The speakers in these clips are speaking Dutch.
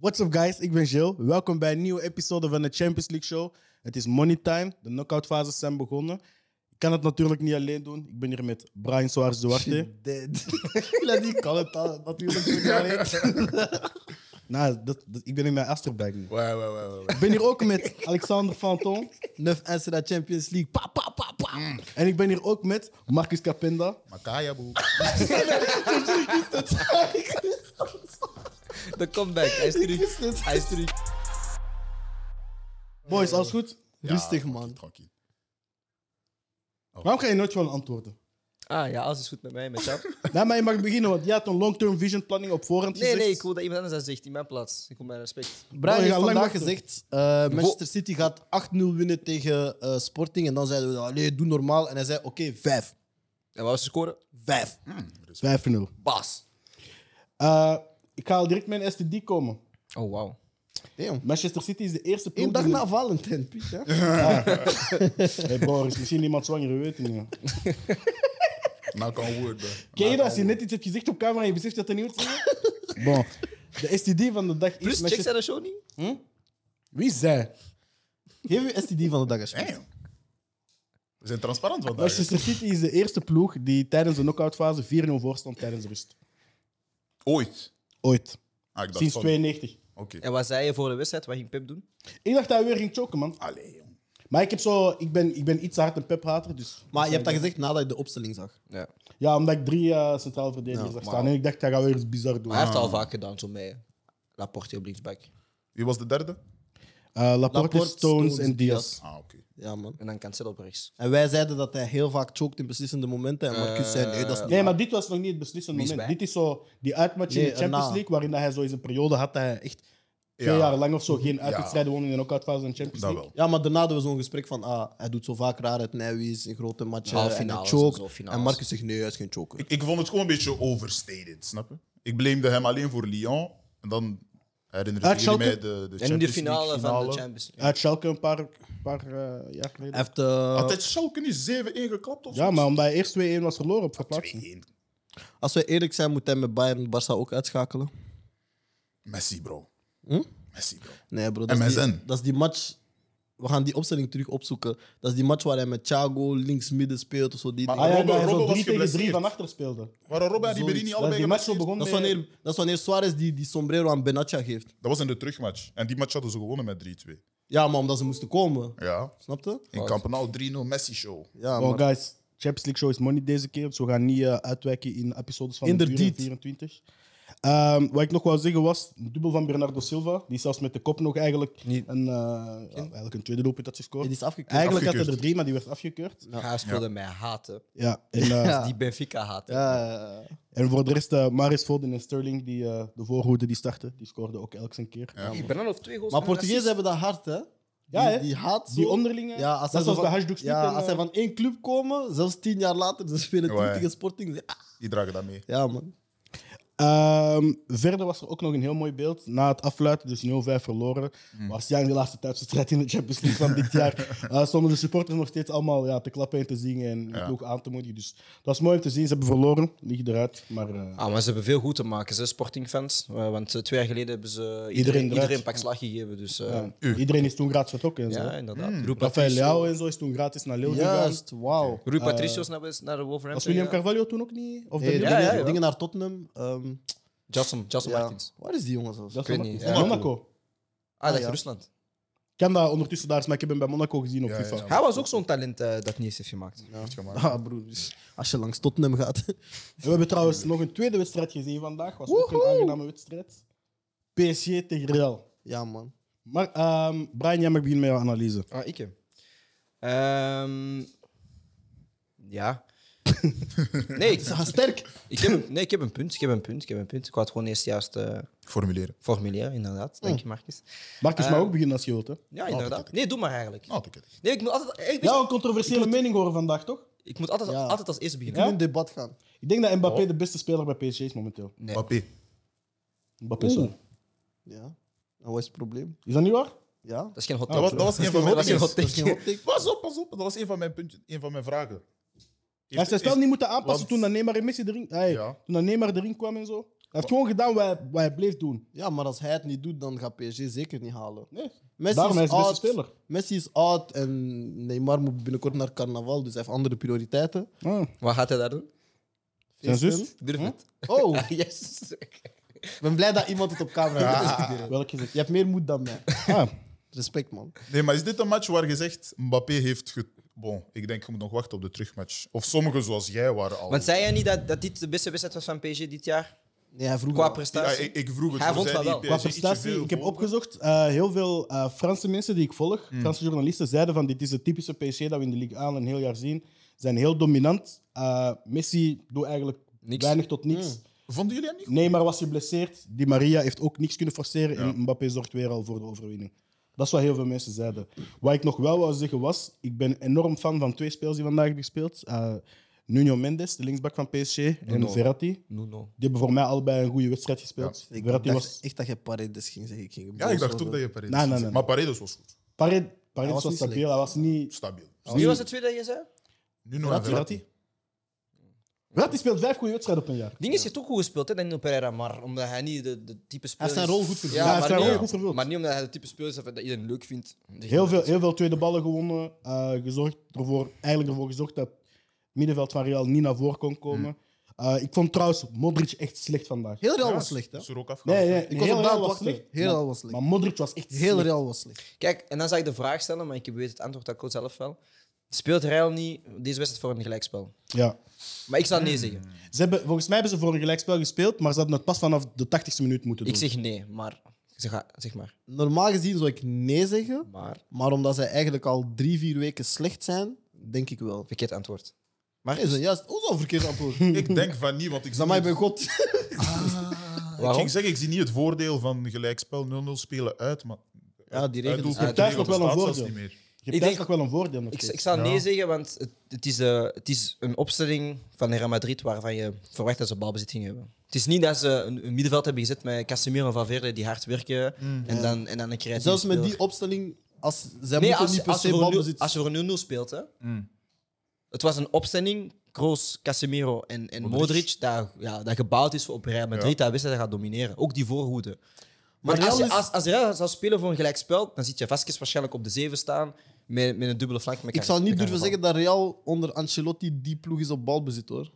What's up guys, ik ben Jill. Welkom bij een nieuwe episode van de Champions League Show. Het is money time, de knock-outfases zijn begonnen. Ik kan het natuurlijk niet alleen doen. Ik ben hier met Brian Soares Duarte. Dead. ja, die kan het al- natuurlijk niet alleen. Nou, dat, dat- ik ben in mijn Asterbag nu. Ouais, ouais, ouais, ouais, ouais. Ik ben hier ook met Alexander Fanton. 9 eisen naar Champions League. Pa, pa, pa, pa. Ah, En ik ben hier ook met Marcus Capenda. Makaya, boe. De comeback. Hij is terug. Hij is terug. Boys, alles goed? Rustig, man. Tranquille. Waarom ga je nooit gewoon antwoorden? Ah ja, alles is goed met mij, met jou. Nou, maar je mag beginnen, want jij had een long-term vision planning op voorhand Nee, gezegd. nee, ik wil dat iemand anders dat zegt in mijn plaats. Ik wil mijn respect. Oh, Brian je heeft gaat lang vandaag wachten. gezegd, eh, Manchester City gaat 8-0 winnen tegen eh, Sporting. En dan zeiden we, allee, doe normaal. En hij zei, oké, 5. En wat was de score? 5. Mm, 5-0. Bas. Eh, ik ga al direct mijn STD komen. Oh, wauw. Damn. Manchester City is de eerste ploeg... Eén dag die- na Valentijn, Piet. hè? Hey, Boris, misschien iemand zwanger, we weten niet. hè. Knock on wood, bro. Ken je Knock dat als je on net iets hebt gezegd op camera en je beseft dat er niet is? Bon. De STD van de dag is... Plus, check Manchester- zijn de show niet? Wie zij? Geef je STD van de dag, wood. alsjeblieft. Damn. We zijn transparant vandaag. Manchester City is de eerste ploeg die tijdens de knock-outfase 4-0 voorstond tijdens rust. Ooit. Ooit. Ah, ik dacht Sinds van- 92. Oké. En wat zei je voor de wedstrijd? Wat ging Pep doen? Ik dacht dat hij weer ging choken, man. Allee, jong. Maar ik, heb zo, ik, ben, ik ben iets hard een pephater, dus... Maar je hebt dat gezegd nadat je de opstelling zag. Ja. Ja, omdat ik drie eh centraal verdedigers zag staan. En ik dacht, hij gaat weer iets bizar doen. Maar hij heeft het al vaak gedaan, zo met Laporte op linksback. Wie was de derde? Eh, Laporte, Stones en Diaz. Ah, oké. Ja, man. En dan Cancelo op rechts. En wij zeiden dat hij heel vaak choked in beslissende momenten. En Marcus zei, nee, dat is niet Nee, maar dit was nog niet het beslissende Wie is moment. bij? Dit is zo die uitmatch in Nee, de Champions erna. League, waarin dat hij zo eens een periode had dat hij echt twee Ja. jaar lang of zo geen uitwedstrijden won in de knock-outfase van de Champions Dat League. wel. Ja, maar daarna hadden we zo'n gesprek van, ah, hij doet zo vaak raar uit Nijwies in grote matchen. Ja, en hij finales chokt. en zo, finales. en Marcus zegt, nee, hij is geen choker. Ik, ik vond het gewoon een beetje overstated, snap je? Ik blamede hem alleen voor Lyon. En dan herinneren Uit jullie mij Schalke? de, de En in de Champions finale, League van de finale. Champions League. Uit Schalke een paar, paar eh, jaar geleden. Hij heeft, eh, Altijd Schalke nu 7-1 geklapt of ja, zoiets? maar omdat hij eerst 2-1 was verloren op verplaatsing. 2-1. als we eerlijk zijn, moet hij met Bayern Barça ook uitschakelen. Messi, bro. Messi, bro. Nee, bro. Dat is, die, MSN. dat is die match... We gaan die opstelling terug opzoeken. Dat is die match waar hij met Thiago links midden speelt of zo. Die, Maar- Ah ja, Robben- dat hij zo Robben 3 was tegen 3 geblesseerd. van achter speelde. Waren Robben en Ribéry niet Dat is allebei die match zo begon geblesseerd? dat, is met- wanneer, dat is wanneer Suarez die, die sombrero aan Benatja geeft. Dat was in de terugmatch. En die match hadden ze gewonnen met 3-2. Ja, maar omdat ze moesten komen. Ja. Snap je? In Campenaal 3-0 Messi show. Ja, Oh, maar- guys, Champions League Show is money deze keer. Dus we gaan niet eh, uitwijken in episodes van Inderdaad. de 24. Ehm, wat ik nog wou zeggen was, een dubbel van Bernardo Silva, die zelfs met de kop nog eigenlijk, Niet- een, eh, ja, eigenlijk een tweede doelpunt had gescoord. Ja, die is afgekeurd. Eigenlijk had Afgekeurd. hij er drie, maar die werd afgekeurd. Hij speelde mij haten. Ja, en, eh, Ja. Die Benfica haten. Ja, ja, ja. en voor de rest, eh Maris Foden en Sterling, die, eh, de voorhoede die starten, die scoorden ook elk zijn keer. Ja, Ik ben dan op twee goals. Maar en een assist. Portugees hebben dat hard, hè? Die, Ja, hè? die haat zo. Die onderlinge, Ja, als net zij zo zoals bij van- Hashdoeks ja, als zij eh, van één club komen, zelfs tien jaar later, ze spelen terug Ouais. tegen Sporting. ze- ah, Die dragen dat mee. Ja, man. Ehm, verder was er ook nog een heel mooi beeld. Na het afluiten, dus 0-5 verloren, Hmm. was ja in de laatste thuiswedstrijd in de Champions League van dit jaar. Eh stonden de supporters nog steeds allemaal ja, te klappen en te zingen en de Ja. ploeg aan te moedigen. Dus dat was mooi om te zien. Ze hebben verloren, liggen eruit. Maar eh, Ah, maar ze hebben veel goed te maken, ze sportingfans. Eh, Want eh, twee jaar geleden hebben ze iedereen, eruit. iedereen, een pak slag gegeven. Dus eh, ja, ja. iedereen is toen gratis vertrokken. En zo. inderdaad. Rui Rafael Patricio- Leao en zo is toen gratis naar Lille gegaan. Juist, wauw. Rui Patricio is naar, West- naar de Was Wolverhampton. William gegaan. Carvalho toen ook niet? Of Hey, Danilo? ja, dingen, ja. dingen naar Tottenham. ehm, Jason, Jason ja. Martins. Waar is die jongen zelfs? Dat Ik is weet Monaco. niet, Is dat ja. Monaco. Ah, dat is ja. Rusland. Ik ken dat ondertussen daar, eens, maar ik heb hem bij Monaco gezien op Ja, FIFA. ja. Hij was ook zo'n talent eh, dat niet eens heeft gemaakt. Heeft gemaakt. Ah, broer. dus Als je langs Tottenham gaat. En we hebben trouwens nog een tweede wedstrijd gezien vandaag. Was ook een aangename wedstrijd. PSG tegen Real. ja, man. Maar, ehm, Brian, jij mag beginnen met jouw analyse. Ah, ik hem. Ehm, ja. nee, ik, Sterk. ik heb, nee, ik heb een punt. Ik heb een punt. Ik heb een punt. Ik wou het gewoon eerst juist eh, Formuleren. formuleren, inderdaad. Oh. Dank je, Marcus. Marcus mag ook beginnen als je wilt. Hè? Ja, inderdaad. Nee, doe maar eigenlijk. Nou, dat ken ik. Nee, ik moet altijd, Oh, ik, Ja, een controversiële mening horen vandaag, toch? ik moet altijd, Ja. altijd als eerste Ik beginnen. wil in debat gaan. Ik denk dat Mbappé de beste speler bij PSG is momenteel. Nee. Mbappé. Mbappé, sorry. Ja. En wat is het probleem? Is dat niet waar? Ja. Dat is geen hot Dat was, dat Ah, was een van mijn Dat is geen hot dingen. Dat is geen take. hot take. Pas op, pas op. Dat was een van mijn, puntjes, een van mijn vragen. Hij heeft zijn spel niet moeten aanpassen want- toen dat Neymar en Messi erin, ay, Ja. toen dat Neymar erin kwam en zo. heeft gewoon gedaan wat hij, wat hij bleef doen. Ja, maar als hij het niet doet, dan gaat PSG zeker niet halen. Nee. Messi Daarom hij is de beste oud. speler. Messi is oud en Neymar moet binnenkort naar carnaval, dus hij heeft andere prioriteiten. Ah, Wat gaat hij daar doen? zijn zus? Feesten. Durf het. Oh, Yes. ik ben blij dat iemand het op camera heeft. Welke is het? Je hebt meer moed dan mij. Ah, Respect, man. Nee, maar is dit een match waar je zegt Mbappé heeft. Ge... Bon, ik denk je moet nog wachten op de terugmatch. Of sommigen zoals jij waren al. Want zei jij niet dat, dat dit de beste wedstrijd was van PSG dit jaar? Nee, hij vroeg Qua wel. ja, prestatie? ik, ik vroeg het. Hij voor vond zij dat die wel. PSG Qua ietsje prestatie, veel ik heb boven? opgezocht, eh, heel veel eh, Franse mensen die ik volg, Franse journalisten, zeiden van dit is het typische PSG dat we in de Ligue 1 een heel jaar zien. Zijn heel dominant. Eh, Messi doet eigenlijk Niks. weinig tot niks. Vonden jullie hem niet? Nee, maar was geblesseerd. Di Maria heeft ook niks kunnen forceren. En Mbappé zorgt weer al voor de overwinning. Dat is wat heel veel mensen zeiden. Wat ik nog wel wou zeggen was, ik ben enorm fan van twee spelers die vandaag hebben gespeeld. Eh, Nuno Mendes, de linksback van PSG, en Verratti. No, no. Die hebben voor mij allebei een goede wedstrijd gespeeld. Ik Verratti dacht was... echt dat je Paredes ging zeggen. Ik ging Ja, ik dacht boos ook dat worden. je Paredes Nee, nee, was. nee. Maar Paredes was goed. Paredes, Paredes was was niet stabiel, slecht. hij was niet... Stabiel. Wie was het tweede dat je zei? Nu nog Verratti. een Verratti. Verratti speelt vijf goede wedstrijden op een jaar. Ding is, heeft ook goed gespeeld, hè, Danilo Pereira, maar omdat hij niet de, de type speler is... zijn rol goed vervuld. Ja, hij maar heeft zijn niet- rol goed vervuld. Maar niet omdat hij de type speler is dat dat iedereen leuk vindt. Heel veel, heel veel tweede ballen gewonnen. eh, gezorgd ervoor, eigenlijk ervoor gezorgd dat het middenveld van Real niet naar voren kon komen. Eh, ik vond trouwens Modric echt slecht vandaag. Heel Real Ja, was slecht, hè? Is er ook afgehaald. Nee, nee, Ik was heel op Real Daan was wachten. slecht. Heel Maar- Real was slecht. Maar Modric was echt Heel slecht. Real was slecht. Kijk, en dan zag ik de vraag stellen, maar ik weet het antwoord dat ik ook zelf wel. Speelt Real niet deze wedstrijd voor een gelijkspel? Ja. Maar ik zou nee zeggen. Ze hebben, volgens mij hebben ze voor een gelijkspel gespeeld, maar ze hadden het pas vanaf de 80ste minuut moeten Hmm. doen. Ik zeg nee, maar zeg, maar- zeg maar. Normaal gezien zou ik nee zeggen, Maar, maar omdat zij eigenlijk al drie, vier weken slecht zijn, denk ik wel. verkeerd antwoord. Maar is dat juist ook zo'n verkeerd antwoord? Ik denk van niet, want ik zie Dan mij niet- bij God. Ik Waarom? ging zeggen, ik zie niet het voordeel van gelijkspel 0-0 spelen uit, maar... Ja, Eh, die regels. Uitdoelpunt Je hebt thuis nog wel een staat zelfs voordeel. niet meer. je ik hebt denk- denk nog wel een voordeel. nog Ik, steeds. ik zou nee Ja. zeggen, want het, het, is, eh, het is een opstelling van Real Madrid waarvan je verwacht dat ze balbezit gingen hebben. Het is niet dat ze een, een middenveld hebben gezet met Casemiro en Valverde die hard werken en, dan, en dan een creatieve Mm. Zelfs met speler. die opstelling, als, zij Nee, moeten als, niet per als, je se voor nul- balbezit. als je voor 0-0 speelt, hè. Het was een opstelling, Kroos, Casemiro en, en Modric, dat, ja, dat gebouwd is op Real Madrid, dat wist dat hij gaat domineren. Ook die voorhoede. Maar Maar als, je, Real is- als, als Real zou spelen voor een gelijkspel, dan zit je Vasquez waarschijnlijk op de 7 staan met, met een dubbele flank. met Ik zou Car- niet met durven Carvajal. zeggen dat Real onder Ancelotti die ploeg is op balbezit, hoor.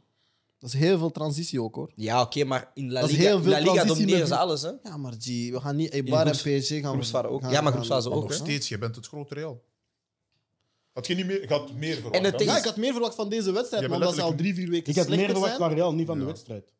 Dat is heel veel transitie ook, hoor. Ja, oké, maar in La Dat is Liga, heel veel La Liga transitie domineren met- ze alles, hè? Ja, maar G, we gaan niet Eibar en groeps- PSG gaan... Groepsfase ook. gaan- Ja, maar gaan- groepsfase Maar ook, nog hè? steeds, je bent het grote Real. Had je niet meer, je had meer verwacht. En het hè? ding Ja, is- ik had meer verwacht van deze wedstrijd, Je maar bent omdat ze al letterlijk- drie, vier weken Ik had meer slechter verwacht zijn. van Real, niet van de wedstrijd.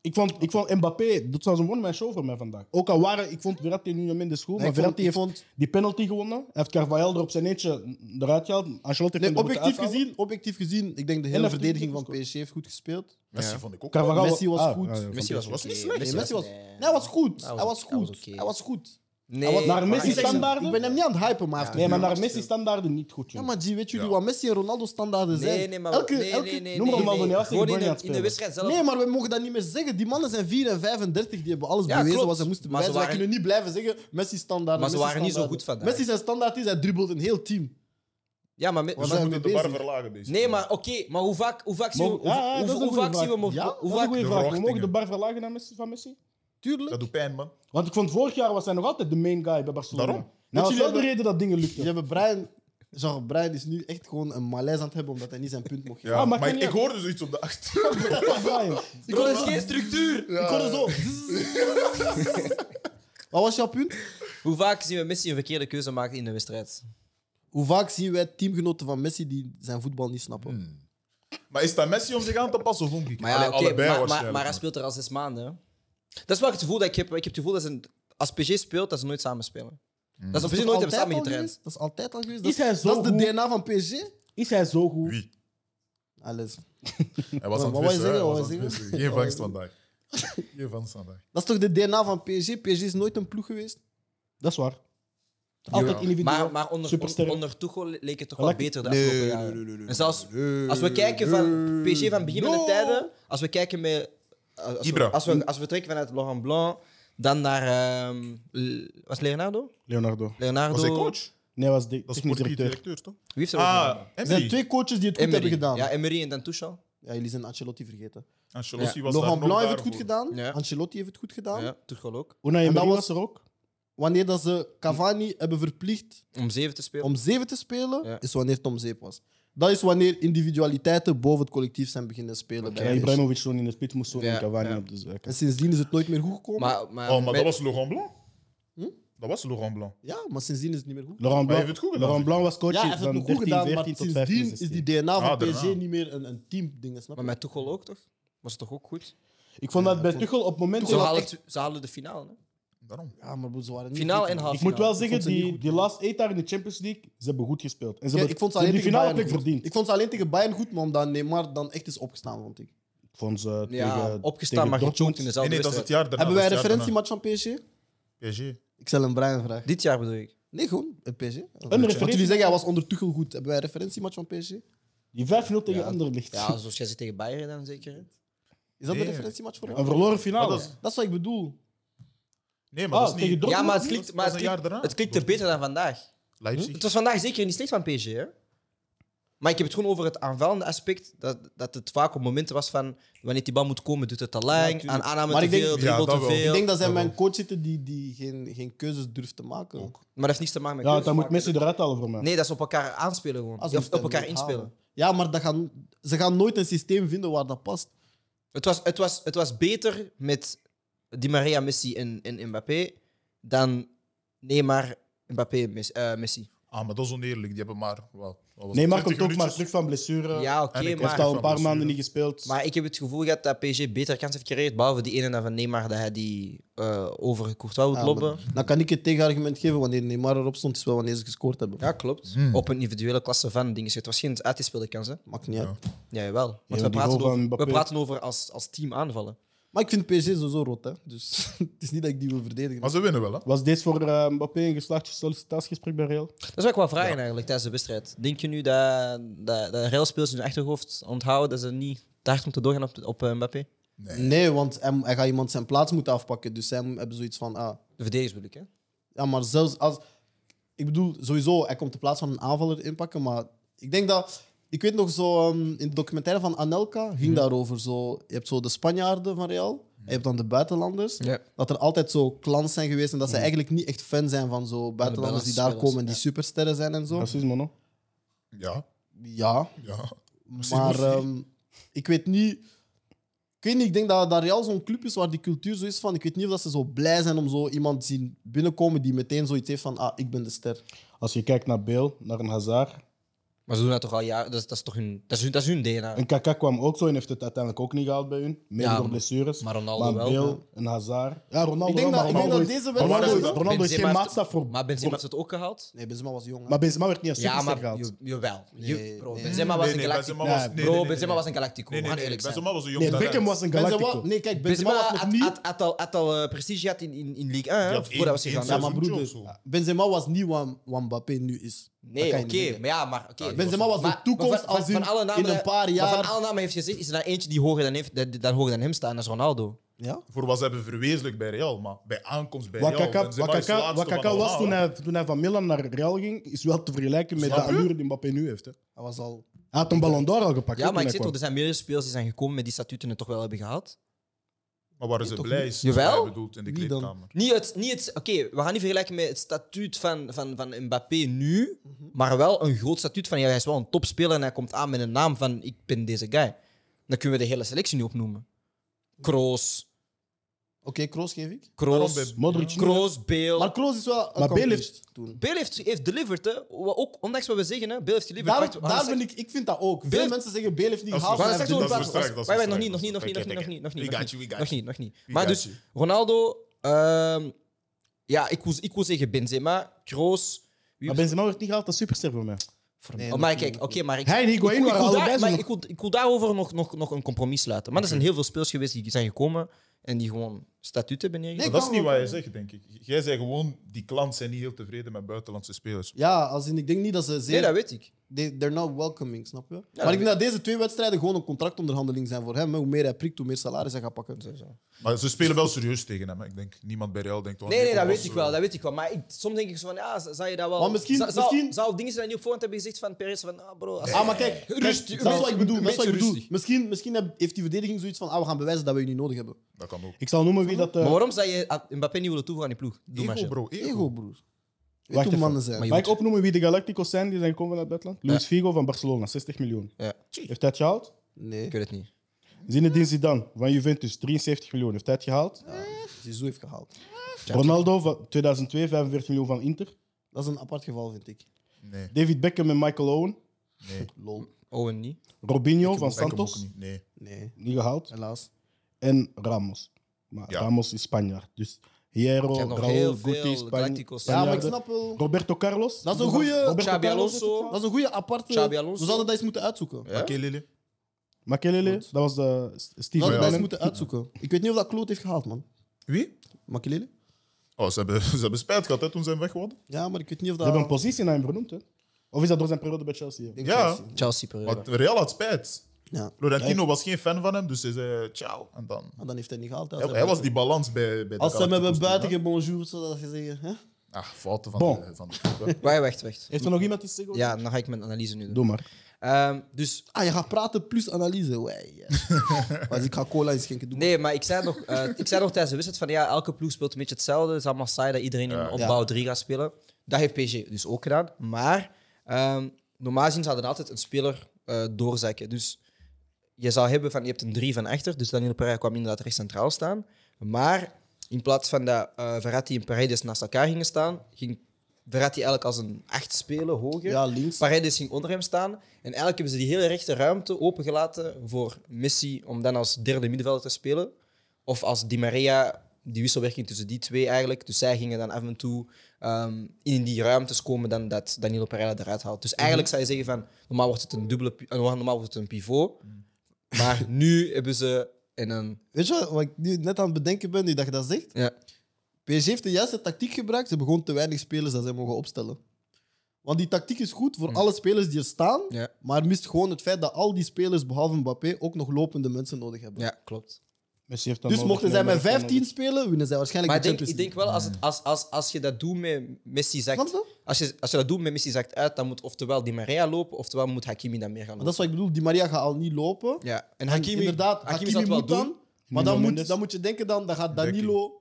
Ik vond, ik vond Mbappé, dat was een one-man show voor mij vandaag. Ook al waren, ik vond Verratti nu in de school, Nee, maar ik vond- Verratti ik heeft vond- die penalty gewonnen. Hij heeft Carvajal er op zijn eentje eruit gehaald. Ancelotti heeft Nee, hem er moeten objectief uithalen. gezien, objectief gezien, ik denk de En hele dat verdediging van verdient ook PSG heeft goed gespeeld. Messi vond ik ook. Carvajal Messi was goed. ja, ja, Messi was, was oké. niet slecht. Nee, Messi was, nee. nee, hij was goed. Hij was- Hij was hij was goed. oké. Hij was goed. Nee, Hij was- Naar Messi Ik zeg- standaarden? Ik ben hem niet aan het hypen, maar hij heeft Nee, maar het naar goed Messi gespeeld. standaarden niet goed, Ja, joh. maar G, weet jullie Ja. wat Messi en Ronaldo standaarden zijn? Nee, nee, maar elke, nee, elke- nee, nee, noem maar nee, Ronaldo, nee. hij was Gewoon tegen Bayern in de, aan het in de wedstrijd zelf. Nee, maar we mogen dat niet meer zeggen. Die mannen zijn 4 en 35, die hebben alles Ja, bewezen klopt. wat ze moesten Maar ze bewijzen. Wij waren- kunnen niet blijven zeggen Messi standaard. Maar ze Messi waren niet zo standaard. goed vandaag. Messi zijn standaard is, hij dribbelt een heel team. Ja, maar... met- Was Ze zijn moeten we de bar bezig. verlagen, bezig. Nee, maar oké, maar hoe vaak, hoe vaak zien we... Mogen- Hoe, ja, ja, Ah, dat is hoe, een hoe goede vaak vraag. zien we... Mo- Ja, hoe dat is een vaak... goede De vraag. We mogen de verwachtingen. bar verlagen naar Messi, van Messi? Tuurlijk. Dat doet pijn, man. Want ik vond vorig jaar was hij nog altijd de main guy bij Barcelona. Daarom. Nou, dat jullie is wel de hebben- reden dat dingen lukten. Je hebt Brian... Jean Brian is nu echt gewoon een malaise aan het hebben omdat hij niet zijn punt mocht Ja, Ah, maar maar kan ik, je- ik hoorde zoiets op de achtergrond. Brian. Ik hoorde zo. geen structuur! Ik hoorde zo. Wat was jouw punt? Hoe vaak zien we Messi een verkeerde keuze maken in de wedstrijd? Hoe vaak zien wij teamgenoten van Messi die zijn voetbal niet snappen? Maar is dat Messi om zich aan te passen of omgekeerd? Maar ja, Allee, oké, allebei maar, maar, waarschijnlijk. maar hij speelt er al zes maanden. hè. Dat is wel het gevoel dat ik heb. Ik heb het gevoel dat ze... een- Als PSG speelt, dat ze nooit samen spelen. Mm. Dat ze op zich nooit hebben samen al getraind. geweest? Dat is altijd al geweest. Is Dat hij is, zo dat is de goed? DNA van PSG. Is hij zo goed? Wie? Ah, Alles. Hij was Wat aan wou het je vissen, hè. zeggen? Hij Wat was wou aan je het zeggen? vissen. Geen vangst vandaag. Geen vangst vandaag. Dat is toch de DNA van PSG? PSG is nooit een ploeg geweest. Dat is waar. Altijd individueel. Maar, maar onder, Supersterk. on- onder Tuchel le- leek het toch wel Lekker. beter de afgelopen jaren. en zelfs als we kijken van PSG van begin van de tijden, als we kijken met... Als, als Ibra. we, als, we, als we trekken vanuit Laurent Blanc, dan naar... ehm, L- was Leonardo? Leonardo. Leonardo... Was hij coach? Nee, was de Dat is technisch sportief directeur. directeur, toch? Wie heeft er ook nog? Ah, Er zijn Emery. twee coaches die het goed Emery. hebben gedaan. Ja, Ja. Emery en dan Tuchel. jullie zijn Ancelotti vergeten. Ancelotti was daar Laurent nog Blanc heeft het daarvoor. goed gedaan. Ja. Ancelotti heeft het goed gedaan. Ja, Tuchel ook. Unai En dat Emery was- was er ook. Wanneer dat ze Cavani hebben verplicht Om zeven te spelen. om zeven te spelen, Ja. is wanneer het om zeep was. Dat is wanneer individualiteiten boven het collectief zijn beginnen spelen. bij Ja, PSG. Ibrahimovic toen in de spits moest zo Ja, en Cavani ja. op de zaak. En sindsdien is het nooit meer goed gekomen. Maar, maar, Oh, maar met- dat was Laurent Blanc? Dat was Laurent Blanc. ja, maar sindsdien is het niet meer goed. Laurent Maar hij Blanc, heeft het goed gedaan, Laurent Blanc was coach Ja, hij heeft het van nog goed 13, gedaan, 14 maar tot 15, sindsdien 16. is die DNA van Ah, PSG daarna. niet meer een, een team-ding. Snap je? maar met Tuchel ook, toch? Was het toch ook goed? Ik vond dat bij Tuchel op het moment... Ze dat- halen, het- ze halen de finale. Hè? Daarom. ja, maar ze waren niet Finale goed, en man. half Ik moet wel zeggen, vond ze niet die, goed. die last eight daar in de Champions League, ze hebben goed gespeeld. En ze Ja, hebben, ik vond ze ze hebben die alleen finale tegen Bayern plek goed. verdiend. Ik vond ze alleen tegen Bayern goed, maar omdat Neymar dan echt is opgestaan, vond ik. Ik vond ze Ja, tegen, opgestaan, tegen maar Dortmund- getuned in Nee, dezelfde nee, dat is het wedstrijd. jaar daarna. Hebben wij een dat is het jaar referentiematch van PSG? daarna. PSG. Ik stel een Brian vraag. Dit jaar bedoel ik. Nee, gewoon een PSG. Wat referentie- jullie zeggen, hij was onder Tuchel goed. Hebben wij een referentiematch van PSG? Die 5-0 tegen Anderlecht. Ja, zoals jij zit tegen Bayern dan zeker. hè? Is dat Nee. een referentiematch voor Een hem? verloren finale. Maar dat is- Dat is wat ik bedoel. Nee, maar Ah, dat is tegen niet... Dortmund. Ja, maar het was- klinkt, was maar het een klinkt, jaar daarna. het klinkt er beter dan vandaag. Hm? Leipzig. Het was vandaag zeker niet slecht van PSG. Hè? Maar ik heb het gewoon over het aanvallende aspect. Dat, dat het vaak op momenten was van wanneer die bal moet komen, doet het te lang. aan aanname Maar te ik denk- veel, Ja, dribbel dat te wel. veel. Ik denk dat zij dat met wel. een coach zitten die, die geen, geen keuzes durft te maken. Maar dat heeft niets te maken met Ja, keuzes dan moet maken. Messi eruit halen voor mij. Nee, dat is op elkaar aanspelen gewoon. Als of moet op hem elkaar niet inspelen. halen. Ja, maar dat gaan, ze gaan nooit een systeem vinden waar dat past. Het was, het, was, het was beter met Di Maria, Messi en, en Mbappé dan Neymar, Mbappé, Messi. eh, Messi. Ah, maar dat is oneerlijk. Die hebben maar... Wat, wat was Nee, het, maar komt 20 ook maar minuutjes? terug van blessure. Ja, oké, en ik Heeft maar, al een paar maanden niet gespeeld. maar ik heb het gevoel gehad dat PSG beter kans heeft gecreëerd. Behalve die ene van Neymar, dat hij die eh over Courtois moet Ah, Ja, lopen. maar Dan kan ik het tegenargument geven wanneer Neymar erop stond, is wel wanneer ze gescoord hebben. Ja, klopt. Op een individuele klasse van dingen. Het was geen uitgespeelde kans, hè? Maakt niet uit. Ja, jawel. Want die we, goal praten van over, we Mbappé. praten over als, als team aanvallen. Maar ik vind PSG sowieso rood, hè. Dus het is niet dat ik die wil verdedigen. Maar ze winnen wel, hè? Was dit voor eh, Mbappé een geslaagd sollicitatiegesprek bij Real? Dat zou ik wel vragen eigenlijk tijdens de wedstrijd. Denk je nu dat, dat, dat Real speels in hun achterhoofd onthouden dat ze niet te hard moeten doorgaan op, op eh, Mbappé? Nee, want hij, hij gaat iemand zijn plaats moeten afpakken. Dus zij hebben zoiets van... Ah, De verdedigers bedoel ik, hè? ja, maar zelfs als... Ik bedoel, sowieso, hij komt de plaats van een aanvaller inpakken. Maar ik denk dat... Ik weet nog zo, ehm, in de documentaire van Anelka ging daarover. Zo, je hebt zo de Spanjaarden van Real. En je hebt dan de buitenlanders. Ja. Dat er altijd zo clans zijn geweest. En dat ze eigenlijk niet echt fan zijn van zo buitenlanders die daar buitenlandse komen en die supersterren zijn en zo. Racisme, no? Ja. Ja, Ja. Maar Precies. ehm, ik weet niet. Ik weet niet, ik denk dat, dat Real zo'n club is waar die cultuur zo is van. Ik weet niet of dat ze zo blij zijn om zo iemand te zien binnenkomen die meteen zoiets heeft van: ah, ik ben de ster. Als je kijkt naar Bale, naar een Hazard. Maar ze doen dat toch al jaren. Dat, is- dat is toch hun, dat is hun, dat is hun DNA. Een Kaka kwam ook zo en heeft het uiteindelijk ook niet gehaald bij hun. Mede Ja, door blessures. maar Ronaldo maar wel, Bale, ja. een Hazard. Ja, Ronaldo Ik denk wel, dat- ik maar denk Ronaldo dat is- deze Ronaldo wedstrijd- is- Ronaldo is Benzema geen heeft- maatstaf voor... Maar Benzema heeft het ook gehaald. Nee, Benzema was jong. hè. Maar Benzema werd niet als Ja, superster maar gehaald. je- jawel. Je- Nee, bro, nee. Benzema was Nee, een nee, galactico. Benzema was... Ja, nee, nee, Bro, nee, Benzema nee. was een galactico. Nee, nee, we nee. gaan eerlijk zijn. Benzema was een jong Nee, talent. Beckham was een Benzema- galactico. nee, kijk, Benzema, Benzema was Dus had, nog niet. had, had al, had al eh, prestige gehad in, in, in League 1, Die hè, had voordat één- was gegaan. één Ja, maar seizoentje broeder, of zo. Benzema was niet wat, wat Mbappé nu is. Nee, Dat oké. kan je niet zeggen. maar ja, maar, oké. Benzema was de Maar- toekomst maar als in- alle in een paar Maar jaar. van alle namen heeft gezegd, is er dan eentje die hoger dan, heeft, dat- dan, hoger dan hem staat, en dat is Ronaldo. Ja? Voor wat ze hebben verwezenlijk bij Real, maar bij aankomst bij Real... Wakaka, Benzema is Wakaka, laatste Wakaka van was allemaal, toen hè. hij, toen hij van Milan naar Real ging, is wel te vergelijken met de Snap je? allure die Mbappé nu heeft. Hè. Hij was al. Hij had een Ballon d'Or al gepakt. Ja, hè, toen maar ik zeg hij toch, er zijn meerdere spelers die zijn gekomen met die statuten en toch wel hebben gehaald. Maar waren ze blij? is Jawel. wat hij bedoelt in de Wie dan? kleedkamer. Niet het, niet het, oké, we gaan niet vergelijken met het statuut van, van, van Mbappé nu, maar wel een groot statuut van ja, hij is wel een topspeler en hij komt aan met een naam van ik ben deze guy. Dan kunnen we de hele selectie nu opnoemen. Kroos, Oké, Kroos geef ik. Waarom Kroos, bij- kwam. Modric niet. Kroos, Bale. Maar Kroos is wel. Maar Bale heeft- accomplished toen. Bale heeft, heeft delivered, hè. Wa- Ook, ondanks wat we zeggen, hè. Bale heeft delivered. Daar, daar ben ik, ik vind dat ook. Veel Bale- mensen zeggen: Bale heeft niet Dat is gehaald. Maar maar dat hij straks heeft dat over is praten. delivered. voor straks, dat is Wacht, wacht, voor nog niet, nog straks, niet, dat nog niet, nog is niet, nog voor niet, nog straks. niet, We got nog you, we niet, got nog you. niet, nog niet. We Maar got dus you. Ronaldo, ehm, ja, ik wil, ik wil zeggen Benzema, Kroos. Wie Maar Benzema werd niet gehaald als superster voor mij. Oh, maar kijk, oké, maar ik, Hij en ik, wil- Higuaín ik, wil waren daar- allebei zo maar nog- ik, wil, ik wil daarover nog, nog, nog een compromis sluiten. Maar er zijn heel veel speels geweest die zijn gekomen en die gewoon statuten hebben Maar neergelegd. dat is niet wat jij zegt, denk ik. Jij zei gewoon, die klanten zijn niet heel tevreden met buitenlandse spelers. Ja, als in, ik denk niet dat ze zeer Nee, dat weet ik. they, they're not welcoming, snap je? maar ik denk dat deze twee wedstrijden gewoon een contractonderhandeling zijn voor hem. Hè. Hoe meer hij prikt, hoe meer salaris hij gaat pakken. Maar ze spelen wel serieus tegen hem. hè. Ik denk niemand bij Real denkt. oh, Nee, nee, dat kom, weet als, ik eh, wel. Dat weet ik wel. Maar ik, soms denk ik zo van, ja, z- zou je dat wel... Maar misschien- zou, zou- misschien- zou dingen zijn die op voorhand hebben gezegd van Perez van, ah bro... als- Ah, maar kijk, kijk, Rustig, dat is wat een ik bedoel. Dat is beetje wat ik bedoel. rustig. Misschien, misschien heb- heeft die verdediging zoiets van: ah, we gaan bewijzen dat we je niet nodig hebben. Dat kan ook. Ik zal noemen wie dat... eh, Maar waarom zou je aan Mbappé niet willen toevoegen aan die ploeg? Doe maar, Ego, Sjen. bro. Ego. Ego, broer. Weet Wacht hoe even. mannen zijn. Maar je- Mag ik opnoemen wie de Galacticos zijn die zijn gekomen uit het buitenland? Luis Figo van Barcelona, 60 miljoen. Ja. Heeft hij het gehaald? Nee, Ik weet het niet. Zinedine Zidane van Juventus, 73 miljoen. Heeft hij het gehaald? Ah, Zizou heeft gehaald. Ronaldo van 2002, 45 miljoen van Inter. Dat is een apart geval, vind ik. Nee, David Beckham en Michael Owen. nee. Lol. Owen niet. Robinho van Beckham ook Santos, niet. niet. Nee. Nee, gehaald. helaas. En Ramos. Maar Ja. Ramos is Spanjaard. Dus Hierro, Je hebt nog Raúl, heel Guti, veel Span- Galacticos. Ja, maar ik Spanjaarden. snap wel. Roberto Carlos. Dat is een Roberto goeie- Carlos Xabi heeft het Alonso. gehaald. Dat is een goede aparte. Xabi We Alonso. zouden dat eens moeten uitzoeken. We Ja? Makelele? Makelele, dat was de Steve zouden dat eens Bannon. moeten uitzoeken. Ik weet niet of dat Kloot heeft gehaald, man. Wie? Makelele? Oh, ze hebben, ze hebben spijt gehad hè, toen ze hem weg wilden. Ja, maar ik weet niet of Ze dat. hebben een positie naar hem vernoemd. Hè? Of is dat door zijn periode bij Chelsea? Ik denk Ja. Chelsea. Chelsea per Maar Real had spijt. ja. Florentino was geen fan van hem, dus hij zei ciao. En dan... Maar dan heeft hij niet gehaald. hè. Als Hij, hij hij was buiten- die balans bij, bij de Als ze hem hebben Galacticos buiten toen, hè. gebonjourd, zodat je zeggen. Hè? Ach, Ah, fouten van Bon. de, van de ploeg, hè. Wij wacht, wacht. Heeft er nog iemand iets te zeggen? Ja, dan ga ik mijn analyse nu doen. Doe maar. Ehm, dus Ah, je gaat praten plus analyse. Wij, ja. Maar ik ga cola inschenken. Doe nee, maar ik zei nog, eh, ik zei nog tijdens de wedstrijd van ja, elke ploeg speelt een beetje hetzelfde. Het is allemaal saai dat iedereen in opbouw 3 gaat spelen. Dat heeft PSG dus ook gedaan. Maar ehm, normaal gezien zouden altijd een speler eh, doorzakken. Dus je zou hebben van je hebt een 3 van achter, dus Daniel Pereira kwam inderdaad recht centraal staan. Maar in plaats van dat eh Verratti en Paredes naast elkaar gingen staan, ging Verratti eigenlijk als een 8 spelen hoger. Ja, links. Paredes ging onder hem staan. En eigenlijk hebben ze die hele rechte ruimte opengelaten voor Messi om dan als derde middenvelder te spelen. Of als Di Maria, die wisselwerking tussen die twee eigenlijk. Dus zij gingen dan af en toe ehm, in die ruimtes komen dan dat Danilo Pereira eruit haalt. Dus eigenlijk Mhm. zou je zeggen van, normaal wordt het een, dubbele, pi- eh, normaal wordt het een pivot. Maar nu hebben ze in een... Weet je wat, wat ik nu net aan het bedenken ben, nu dat je dat zegt? Ja, PSG heeft de juiste tactiek gebruikt. Ze hebben gewoon te weinig spelers dat zij mogen opstellen. Want die tactiek is goed voor alle spelers die er staan, Hm. ja, maar mist gewoon het feit dat al die spelers, behalve Mbappé, ook nog lopende mensen nodig hebben. ja klopt. Messi heeft dat Dus nodig, mochten zij met Neymar heeft dat 15 spelen, winnen zij waarschijnlijk Maar ik de denk, Champions ik denk wel, als, het, als, als, als je dat doet met Messi League. Snap zakt... je? Als je, als je dat doet met Messi zakt uit, dan moet oftewel Di Maria lopen, oftewel moet Hakimi dan meer gaan lopen. Maar dat is wat ik bedoel. Die Maria gaat al niet lopen. Ja, en En Hakimi, inderdaad, Hakimi, Hakimi, zal het wel moet doen. dan. Maar dan Mendes. moet, dan moet je denken, dan, dan gaat Danilo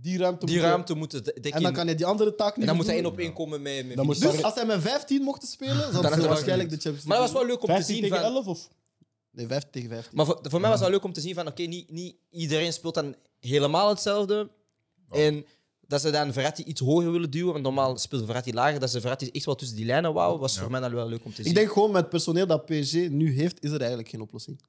die ruimte Die moeten- ruimte moet het dekken. En dan kan hij die andere taak niet en dan moet hij vervullen. één op één komen met, met Dan moet- Vinicius. Dus als zij met 15 mochten spelen, Dan zouden had ze hij waarschijnlijk de wel Champions League Maar dat was wel winnen. leuk om te 15 zien. tegen Van, 11 of? Nee, 15 tegen 15. maar voor, voor mij was het wel leuk om te zien van, oké, niet, niet iedereen speelt dan helemaal hetzelfde. En dat ze dan Verratti iets hoger willen duwen, want normaal speelt Verratti lager. Dat ze Verratti echt wel tussen die lijnen wou, was voor mij dan wel leuk om te zien. Ik denk gewoon met het personeel dat PSG nu heeft, is er eigenlijk geen oplossing.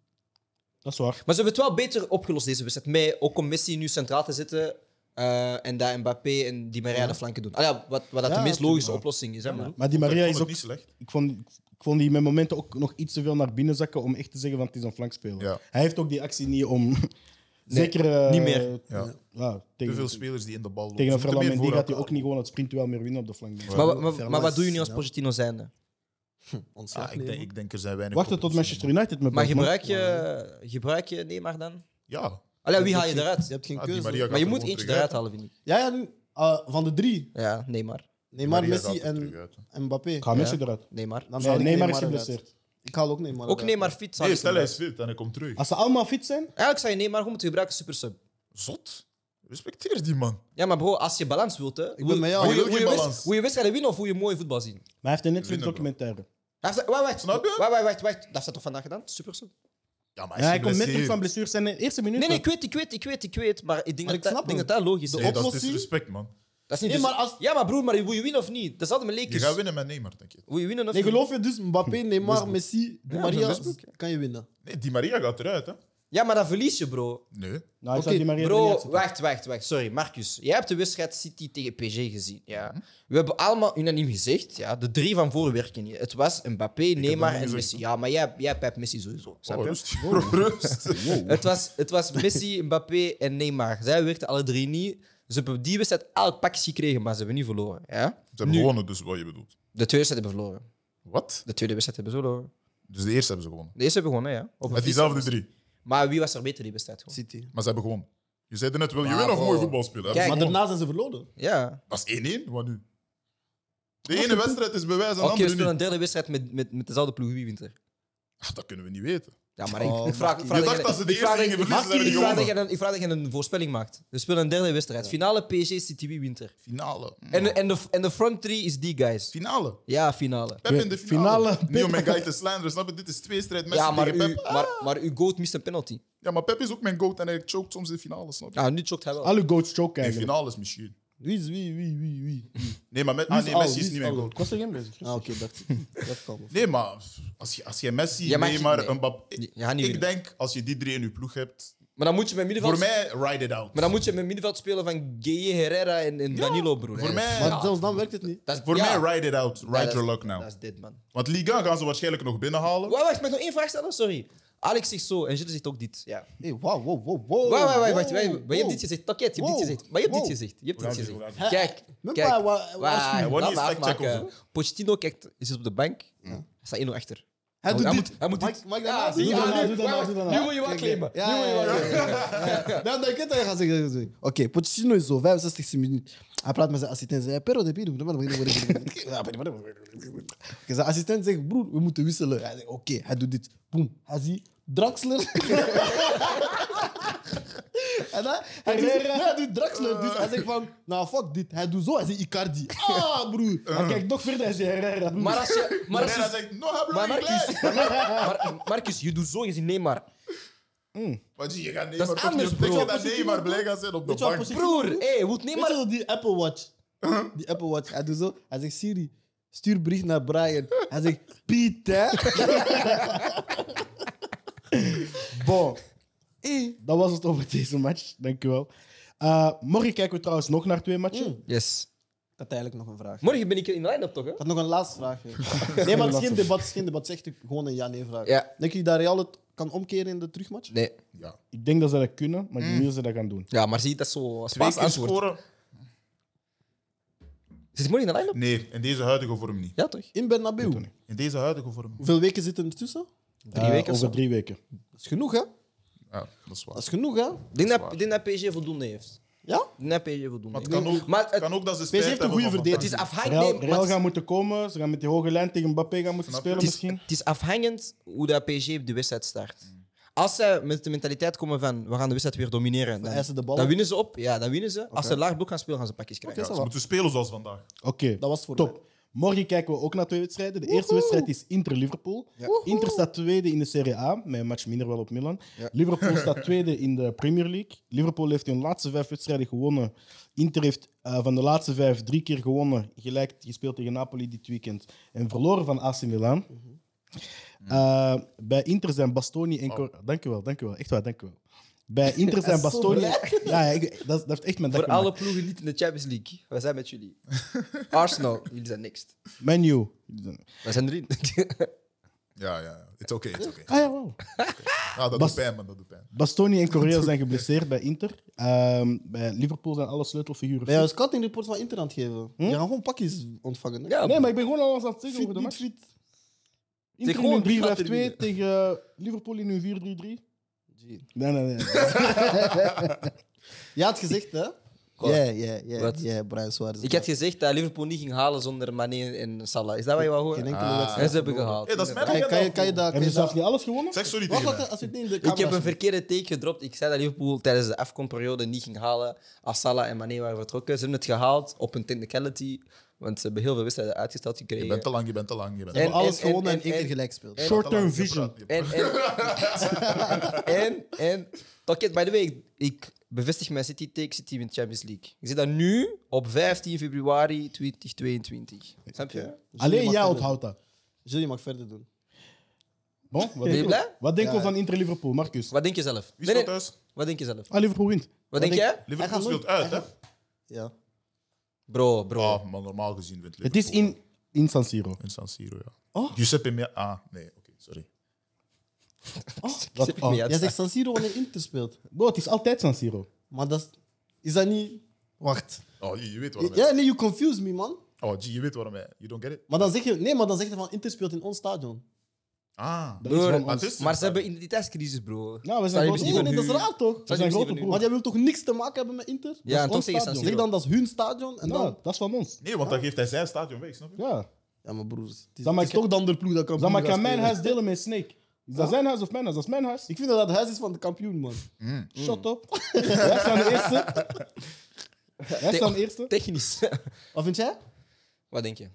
Dat is waar. Maar ze hebben het wel beter opgelost deze wedstrijd. Mee, ook om Messi nu centraal te zetten eh, en daar Mbappé en Di Maria de flanken doen. Ah, ja, wat, wat dat Ja, de meest tuurlijk, logische oplossing is. Hè, maar. Maar die Maria Ik is vond het ook... niet slecht. Ik vond, ik vond die met momenten ook nog iets te veel naar binnen zakken om echt te zeggen van het is een flankspeler. Ja. Hij heeft ook die actie niet om... Zeker... eh, niet meer. Ja. ja, Te tegen, veel spelers die in de bal lopen. tegen een Ze moeten meer Ferland voor gaat hij elkaar. ook niet gewoon het sprintduel meer winnen op de flank. Dus Maar, Ja, maar, maar, Vermaas, wat doe je nu als ja. Pochettino zijnde? Ontslag Ah, ik, denk, nemen. ik denk er zijn weinig. Wachten tot oplossingen. Manchester United met Maar Botman. gebruik je, gebruik je Neymar dan? Ja. Allee, wie haal je Je eruit? hebt geen Ah, die keuze. Maria gaat Maar je er moet gewoon eentje terug eruit uit. halen, vind ik. Ja, ja, nu, eh, van de drie. Ja, Neymar. Neymar, Maria Messi gaat er terug en uit, hè. en Mbappé. Ga Messi Ja. eruit. Neymar. Dan Nee, haal ik Neymar is eruit. geblesseerd. Ik haal ook Neymar Ook eruit. Neymar fit zou Nee, ik stel hij eruit. is fit en hij komt terug. Als ze allemaal fit zijn... Eigenlijk zou je Neymar gewoon moeten gebruiken super sub. Zot. Respecteer die man. Ja, maar bro, als je balans wilt, hè. Ik ben met jou. Maar je Hoe wil je, geen wist- balans. hoe je wedstrijden winnen of hoe je mooi voetbal zien. Maar hij heeft een Netflix Winnen, bro. documentaire. Hij heeft- Wacht, wacht, Snap wacht, je? wacht, wacht, wacht. Dat heeft hij toch vandaag gedaan? Super sub. Ja, maar Ja, hij komt net terug geblesseerd. van blessure zijn eerste minuut. Nee, nee, ik weet, ik weet, ik weet, ik weet. Maar ik denk, Maar dat, ik dat- snap denk hem. dat dat logisch is. Nee, dat is oplossing- disrespect, man. Dat is niet Nee, dus- maar als- Ja, maar broer, maar hoe je winnen of niet? Dat is altijd mijn Je leek. gaat winnen met Neymar, denk ik. Hoe je winnen of Nee, niet? geloof je dus Mbappé, Neymar, Messi, Di Ja, Maria, dat is ook, kan je winnen. Nee, Di Maria gaat eruit, hè? Ja, maar dan verlies je, bro. Nee. Nou, hij Oké, zou die Maria er niet Bro, uitzetten. wacht, wacht, wacht. Sorry, Marcus. Jij hebt de wedstrijd City tegen PSG gezien. Ja. We hebben allemaal unaniem gezegd, ja, de drie van voren werken niet. Het was Mbappé, Neymar nog en niet Messi. Ja, maar jij, jij pijpt Messi sowieso. Snap Oh, je? rust. rust. Het, was, het was Messi, Mbappé en Neymar. Zij werkten alle drie niet. Ze hebben die wedstrijd elk pakje gekregen, maar ze hebben niet verloren. Ja? Ze hebben gewonnen, dus wat je bedoelt. De tweede wedstrijd hebben verloren. Wat? De tweede wedstrijd hebben ze verloren. Dus de eerste hebben ze gewonnen. De eerste hebben gewonnen, ja. Op een Met vies- diezelfde drie. Maar wie was er beter die wedstrijd? gewoon? City. Maar ze hebben gewonnen. Je zei er net wel, je Bravo. wil nog mooi voetbal spelen. Kijk, Maar Hebben ze gewonnen. daarna zijn ze verloren. Ja. dat is 1-1, wat nu? De ene wedstrijd is bewijs en de Oké, we andere spelen niet. een derde wedstrijd met, met, met dezelfde ploeg. Wie wint er? Ach, dat kunnen we niet weten. Ja, maar ik, Oh, ik vraag... Ik vraag Je dacht jij- dat ze de ik vraag eerste jij- gingen verliezen, ik ze vraag hebben dat jij gewonnen. een- Ik vraag dat je een voorspelling maakt. We spelen een derde wedstrijd. Finale PSG City, wie wint er? Finale. Mm. En, en, de, en de front three is die guys. Finale. Ja, eh, finale. Pep in de Finale. finale. Niet om mijn guy te slanderen, snap je? Dit is twee strijd Messi Ja, maar tegen u, Pep. maar, maar uw goat mist een penalty. Ja, maar Pep is ook mijn goat en hij choked soms in de finale, snap je? Ja, nu chokt hij wel. Al uw goats choke In eigenlijk. finales misschien. Wie is wie, wie, wie, wie? Nee, maar met, ah, nee, al? Messi Wie is is niet mijn al? goal. Ik was er geen bezig. Ah, oké, dacht ik. Dat kan wel. Nee, maar als je, als je Messi, Ja, maar Neymar, nee. Mbappé... Je- je gaat niet ik winnen. denk, als je die drie in je ploeg hebt... Maar dan moet je met middenveld, Voor mij, ride it out. maar dan moet je met middenveld spelen van Gueye, Herrera en, en Danilo, broer. Voor Ja, mij, Maar zelfs dan werkt het niet. dat is, voor ja. mij ride it out. Ride Ja, dat is- your luck now. Dat is dit, man. Want Liga gaan ze waarschijnlijk nog binnenhalen. Wacht, wacht, mag ik nog één vraag stellen? Sorry. Alex zegt zo en Gilles zegt ook dit. Ja. Hey, wow, wow, wow, wow. wacht, wacht, wacht, wacht, wacht. wow, Maar je hebt dit wow. gezegd. Pakket, je hebt Wow. dit gezegd. Maar je hebt dit Wow. gezegd. Je hebt Hoe dit laat is het? gezegd. Hoe laat is het? Kijk, Même kijk. pas, wa- Wacht, wa- waarschuwing. Wanneer laat is me fact-check afmaken. of Pochettino kijkt, is op de bank. Hij staat 1-0 achter. Hij doet hij dit. moet- hij moet Mag dit- ik- mag ik Ja, daarna zie zien? je. Doe Ja, dat nou, nu- doe dat nou, wacht, doe dat Nu nou. wil je wel claimen. Ja, Nu ja, wil je wel ja, claimen. ja. Dan denk ik het, hij gaat zeggen. hij gaat zeggen. Oké, Pochettino is zo, 65e minuut. Hij praat met zijn assistent. Hij zegt, Pero de Pino. Oké, Zijn assistent zegt, broer, we moeten wisselen. Hij zegt, oké, hij doet dit. Boom, hij ziet Draxler. en hij, hij, doet, nee, hij doet Draxler. Dus hij zegt van, nou fuck dit. Hij doet zo, hij ziet Icardi. Ah, broer. Maar kijk, nog verder is je Herrera. broer. Maar als je... Maar als Pereira je zegt, no, hebben maar jullie gelijk. Marcus, maar Mar- Mar- Marcus, je doet zo, je ziet Neymar. Want je gaat Dat Neymar is toch anders, niet- denk bro. je dat Neymar blij gaat zijn op de Weet je wat bank? positie- Broer, hé, hoe het Weet je Neymar... wel, die Apple Watch. Die Apple Watch. Hij doet zo. Hij zegt, Siri, stuur bericht naar Brian. Hij zegt, Piet, hè? Bon. Dat was het over deze match. Dankjewel. Eh morgen kijken we trouwens nog naar twee matchen. Mm. Yes. Ik had eigenlijk nog een vraag. Ik Morgen ben ik in de line-up, toch? Hè? had nog een laatste vraag. hè. Nee, maar het is geen debat. Het is geen debat. Het is echt gewoon een ja-nee-vraag. Ja. Denk je dat Real het kan omkeren in de terugmatch? Nee. Ja. Ik denk dat ze dat kunnen, maar ik weet niet of ze dat gaan doen. Ja, maar zie je dat zo als Twee keer paasantwoord. scoren? Zit je morgen in de line-up? Nee, in deze huidige vorm niet. Ja, toch? In Bernabeu. In deze huidige vorm niet. Hoeveel weken zitten er tussen? Drie Eh, weken of over zo. drie weken. Dat is genoeg, hè? Ja, dat is Dat waar. is genoeg, hè? Ik denk dat, ik denk dat PSG voldoende heeft. Ja? Ik denk dat PSG voldoende Maar het heeft. kan ook, Maar het- kan ook dat ze heeft spijt een hebben goede van verdediging. Het is vandaag. afhankelijk... Real, maar Real het- gaan moeten komen. Ze gaan met die hoge lijn tegen Mbappé gaan moeten Snap je? spelen het, is, misschien. het is afhangend hoe dat PSG op de wedstrijd start. Mm. Als zij met de mentaliteit komen van we gaan de wedstrijd weer domineren, dan, eisen de ballen. dan winnen ze op. Ja, dan winnen ze. Als ze laag bloed gaan spelen, gaan ze pakjes krijgen. Oké, Ja, ça ze va. moeten spelen zoals vandaag. Oké, Dat was het voor top. mij. Morgen kijken we ook naar twee wedstrijden. De eerste wedstrijd is Inter-Liverpool. Inter staat tweede in de Serie A, met een match minder wel op Milan. Liverpool staat tweede in de Premier League. Liverpool heeft hun laatste vijf wedstrijden gewonnen. Inter heeft eh, van de laatste vijf drie keer gewonnen. Gelijk gespeeld tegen Napoli dit weekend. En verloren van AC Milan. Mm-hmm. Eh, bij Inter zijn Bastoni Oh. en... Cor- Dankjewel, dankjewel. Echt waar, dankjewel. Bij Inter zijn is zo Bastoni... Ja, blij. ja, ik- dat, dat heeft echt mijn dag Voor gemaakt. alle ploegen niet in de Champions League. We zijn met jullie. Arsenal, jullie zijn niks. Menu. We zijn erin. Ja, ja, ja. It's okay, it's okay. Ah ja, wauw. Ah, dat Bas- doet pijn, man, dat doet pijn. Bastoni en Correa zijn geblesseerd bij Inter. Ehm, bij Liverpool zijn alle sleutelfiguren. Ben je een fit. scouting report van Inter aan het geven? Je gaat gewoon pakjes ontvangen. Hè? Hm? ja, Nee, maar ik ben gewoon alles aan het zeggen Fit, over de niet match. fit. Inter Tegen gewoon in laten hun 3-5-2 winnen. tegen eh, Liverpool in hun 4-3-3. Gee. Nee, nee, nee. Je had gezegd, hè? Wat? Ja, ja, ja. Wat? Ja, Brian Suarez. Ik had gezegd dat Liverpool niet ging halen zonder Mane en Salah. Is dat wat je wou Geen horen? enkele Ah. wedstrijd. En ze hebben verloren. gehaald. Hey, dat is inderdaad. mijn- Kan, kan, je- kan je dat... Kan Hebben je ze zelf dat niet alles gewonnen? Zeg sorry wacht, tegen wacht, mij. als je het niet in de Ik camera heb een zet. verkeerde take gedropt. Ik zei dat Liverpool tijdens de afkomperiode niet ging halen als Salah en Mane waren vertrokken. Ze hebben het gehaald op een technicality, want ze hebben heel veel wedstrijden uitgesteld gekregen. Je bent te lang, je bent te lang. Je bent te We En- lang. hebben alles en- gewonnen en en- één keer en- gelijk gespeeld. en- Short-term Je praat- vision. je praat- En, en, en, en Oké, by the way, ik, ik bevestig mijn City take City wint Champions League. Ik zit dat nu op 15 februari 2022. Snap je? Alleen jij onthoudt dat. Jullie mag verder doen. Bon, wat Ben je denken blij? we- wat denken we Ja. van Inter-Liverpool, Marcus? Wat denk je zelf? Wie Nee, speelt nee, thuis? Wat denk je zelf? Ah, Liverpool wint. Wat denk jij? Liverpool nooit- speelt uit, hè? Ja. Bro, bro. Ah, maar normaal gezien wint Het Liverpool. is in, in San Siro. In San Siro, ja. Giuseppe Mea... Ah, nee, oké, sorry. Wat- Zit ik ah. mee uit? Jij zegt San Siro wanneer Inter speelt. Bro, het is altijd San Siro. Maar dat is... Is dat niet... Wacht. Oh, je, je weet wat Ja, nee, you confuse me, man. Oh, G, je weet waarom hij. You don't get it? Maar dan zeg je, nee, maar dan zeg je van Inter speelt in ons stadion. Ah, Dat is Broer, van ons. het is- Maar ze hebben identiteitscrisis, bro. Ja, Nou, we Sta je zijn grote misschien Nee, broer. nee, dat is nu- raar toch? We Zijn zijn jullie grote nu- broer. Want jij wil toch niks te maken hebben met Inter? Ja, en dat toch is ons tegen San stadion. Siro. Zeg dan dat is hun stadion en Ja, dan... dat is van ons. Nee, want dan geeft hij zijn stadion weg, snap je? Ja. Ja, maar broer, het is, Dan het maak is je- toch dan de ploeg dat kampioen Dan maar gaat kan mijn spelen. huis delen met Snake. Is dat Ja. zijn huis of mijn huis? Dat is mijn huis. Ik vind dat dat het huis is van de kampioen, man. Shut up. Wij staan de eerste. Wij staan de eerste. Technisch. Wat vind jij? Wat denk je?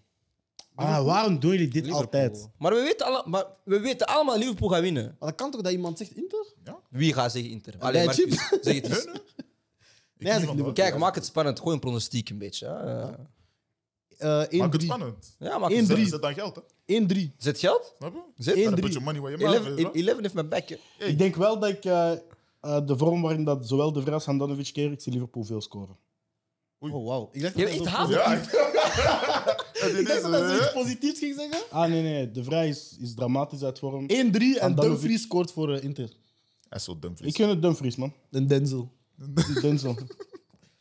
Ah, waarom doen jullie dit Liverpool. Maar we, weten alle, maar we weten allemaal Liverpool gaat winnen. Maar dat kan toch dat iemand zegt Inter? Wie gaat zeggen Inter? bij Allee, Marcus, zeg het eens. Ik Nee, niet, zeg want nu- dat- Kijk, maak het spannend. Gooi een pronostiek een beetje. hè. Eh, 1-3. Maak het spannend. Ja, maak Eén, het Zet, drie. zet dan geld, hè. 1-3. Zet geld? Snap je? Zet- Dan Eén, put drie. your money where your mouth 11 is, man. 11 heeft mijn bek. hè. Ik denk wel dat ik eh, eh, de vorm waarin dat zowel de Vrijs Handanovic keer, ik zie Liverpool veel scoren. Oh, wauw. Ik dacht Je dat hebt echt dat haat op Ja. Dit Ik dacht is, dat dat eh, zoiets positiefs ging zeggen. Ah, nee, nee. De Vrij is, is dramatisch uit vorm. 1-3 en Handanovic. Dumfries scoort voor eh, Inter. Hij is zo dom, Ik vlees. gun het Dumfries, man. En Denzel. Die Denzel.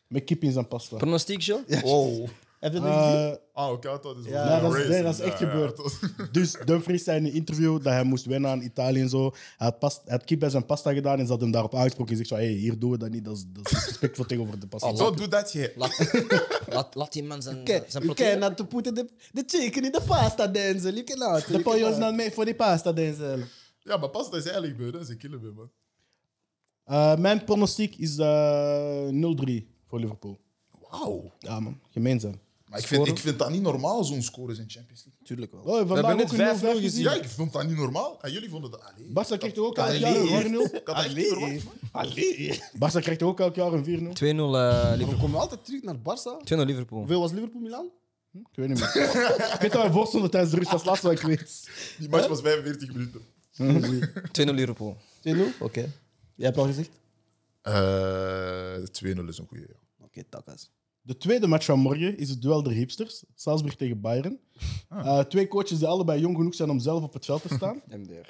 Met kip in zijn pasta. Pronostiek, Joe? Wow. Heb je dat niet gezien? Eh, Ah, oké, dat is Ja, ja, dat is, racist. nee, dat is echt Ja, ja, gebeurd. dat- Dus Dumfries zei in een interview dat hij moest wennen aan Italië en zo. Hij had, pas, hij had kip bij zijn pasta gedaan en ze had hem daarop aangesproken. Hij zegt zo, hey, hier doen we dat niet. Dat is, dat is respectvol tegenover de pasta. Zo doet dat je. Laat, laat, laat die man zijn, Kijk, zijn you proteïne- cannot to put the, the chicken in the pasta, Denzel. You cannot. The boy was not made for the pasta, Denzel. Ja, maar pas dat is eigenlijk gebeurd, hè. Ze killen me, man. Eh, mijn pronostiek is eh, 0-3 voor Liverpool. Wauw. Ja, man. Gemeen zijn. Oh, Maar ik vind, ik vind dat niet normaal, zo'n scores in Champions League. Tuurlijk wel. Oh, vandaag hebben net ook een 5-0 0-5 gezien. Ja, ik vond dat niet normaal. En jullie vonden dat... Ah, Allee. Barca kreeg toch ook elk Allee. jaar een 4-0? Ik had dat echt niet verwacht, man. Barca kreeg toch ook elk jaar een 4-0? 2-0 eh, We Liverpool. komen altijd terug naar Barça. 2-0 Liverpool. Hoeveel was Liverpool-Milan? Ik weet niet meer. ik weet dat wij voor stonden tijdens de rust. Dat is het laatste wat ik weet. Die match was 45 minuten. 2-0 Liverpool. 2-0? Oké. Jij hebt al gezegd? Eh, 2-0 is een goede. Ja. Oké, takkas. De tweede match van morgen is het duel der hipsters. Salzburg tegen Bayern. Eh, twee coaches die allebei jong genoeg zijn om zelf op het veld te staan. MDR.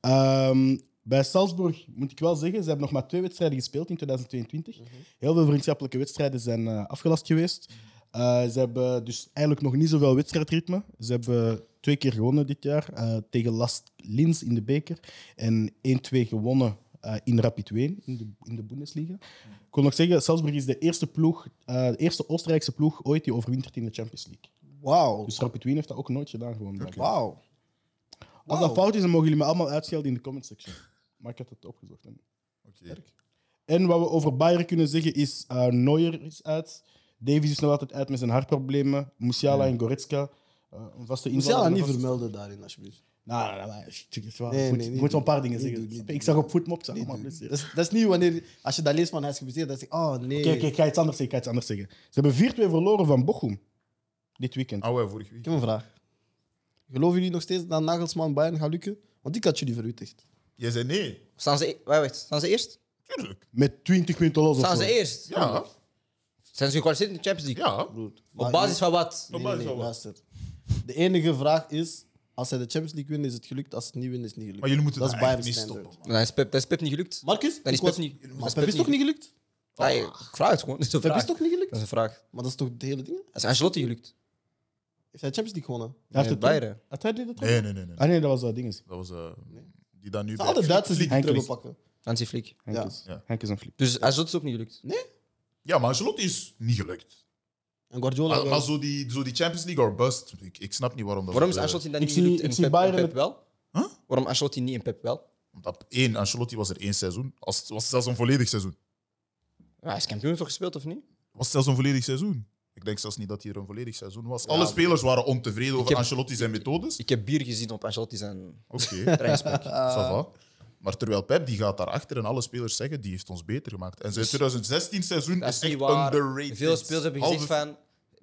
Ehm, bij Salzburg moet ik wel zeggen, ze hebben nog maar twee wedstrijden gespeeld in 2022. Heel veel vriendschappelijke wedstrijden zijn eh, afgelast geweest. Eh, ze hebben dus eigenlijk nog niet zoveel wedstrijdritme. Ze hebben twee keer gewonnen dit jaar eh, tegen Last Linz in de beker en 1-2 gewonnen eh, in Rapid Wien in de, in de Bundesliga. Ik wil nog zeggen, Salzburg is de eerste, ploeg, eh, de eerste Oostenrijkse ploeg ooit die overwintert in de Champions League. Wauw. Dus Rapid Wien heeft dat ook nooit gedaan. Gewoon, blijkbaar. Wauw. Als dat fout is, dan mogen jullie me allemaal uitschelden in de comment section. Maar ik heb het opgezocht. hè. Oké. En wat we over Bayern kunnen zeggen is: eh Neuer is uit. Davies is nog altijd uit met zijn hartproblemen. Musiala en Goretzka. eh, een vaste Moet je invaller. dat niet vermelden daarin, alsjeblieft. Nou, nou, nou, maar shit, het is wel- Nee, goed, nee, ik niet moet wel een paar doen. dingen Niet zeggen. doen, niet ik zag op voetmop, zeg maar. Dat plezier. Oké, is, dat is niet wanneer, als je dat leest van hij is geblesseerd, dan zeg je, oh nee. oké, ik ga iets anders zeggen. Ik ga iets anders zeggen. Ze hebben 4-2 verloren van Bochum. Dit weekend. Ah, ja, vorige Ik week. heb een vraag. Geloven jullie nog steeds dat Nagelsman Bayern gaat lukken? Want ik had jullie verwittigd. Jij zei nee. Staan ze, e- wacht, wacht, staan ze eerst? Tuurlijk. Met 20 punten los of Staan zo. ze eerst? Ja. Zijn ze gekwalificeerd in de Champions League? Ja. Broer. Op basis van wat? Nee, nee, basis nee, van wat? luister. De enige vraag is, als hij de Champions League wint, is het gelukt. Als het niet wint, is het niet gelukt. Maar jullie moeten dat dat is daar Bayern echt niet standaard. stoppen. man. Nee, is Pep, dat is Pep niet gelukt. Marcus? Dan is ik was- Pep niet- dat Maar is Pep Pep is toch niet. niet gelukt? Nee, ik vraag het gewoon. Dat is een Pep vraag. is toch niet Dat is gelukt? een vraag. Maar dat is toch de hele ding? Is Ancelotti gelukt? Heeft hij de Champions League gewonnen? Hij heeft Nee, het Bayern. Had hij dit ook al? Nee, nee, nee. nee. Ah nee, dat was dat ding. Dat was... eh, die dan nu Het zijn alle Duitsers die die Henkel terug is- pakken. Hansi Flick. Henk, Ja. is, Ja. Henk is een flip. Dus Ancelotti is ook niet gelukt. Ja, maar Ancelotti is niet gelukt. En Guardiola Maar, wel. maar zo, die, zo die Champions League or bust, ik, ik snap niet waarom dat... Waarom is dat, eh, Ancelotti dan ik niet zie- gelukt ik en zie Pep, en Bayern Pep met- wel? Huh? Waarom Ancelotti niet en Pep wel? Omdat één, Ancelotti was er één seizoen. Als, het was zelfs een volledig seizoen. Ja, hij is kampioen toch gespeeld of niet? Was zelfs een volledig seizoen. Ik denk zelfs niet dat hier een volledig seizoen was. Alle spelers waren ontevreden over heb- Ancelotti zijn methodes. Ik Eh, heb bier gezien op Ancelotti zijn Oké, trainingspak. ça va. Maar terwijl Pep die gaat daarachter en alle spelers zeggen die heeft ons beter gemaakt. En zijn 2016 seizoen Dus Dat is, is echt niet waar. underrated. Veel spelers hebben gezegd Halve- van...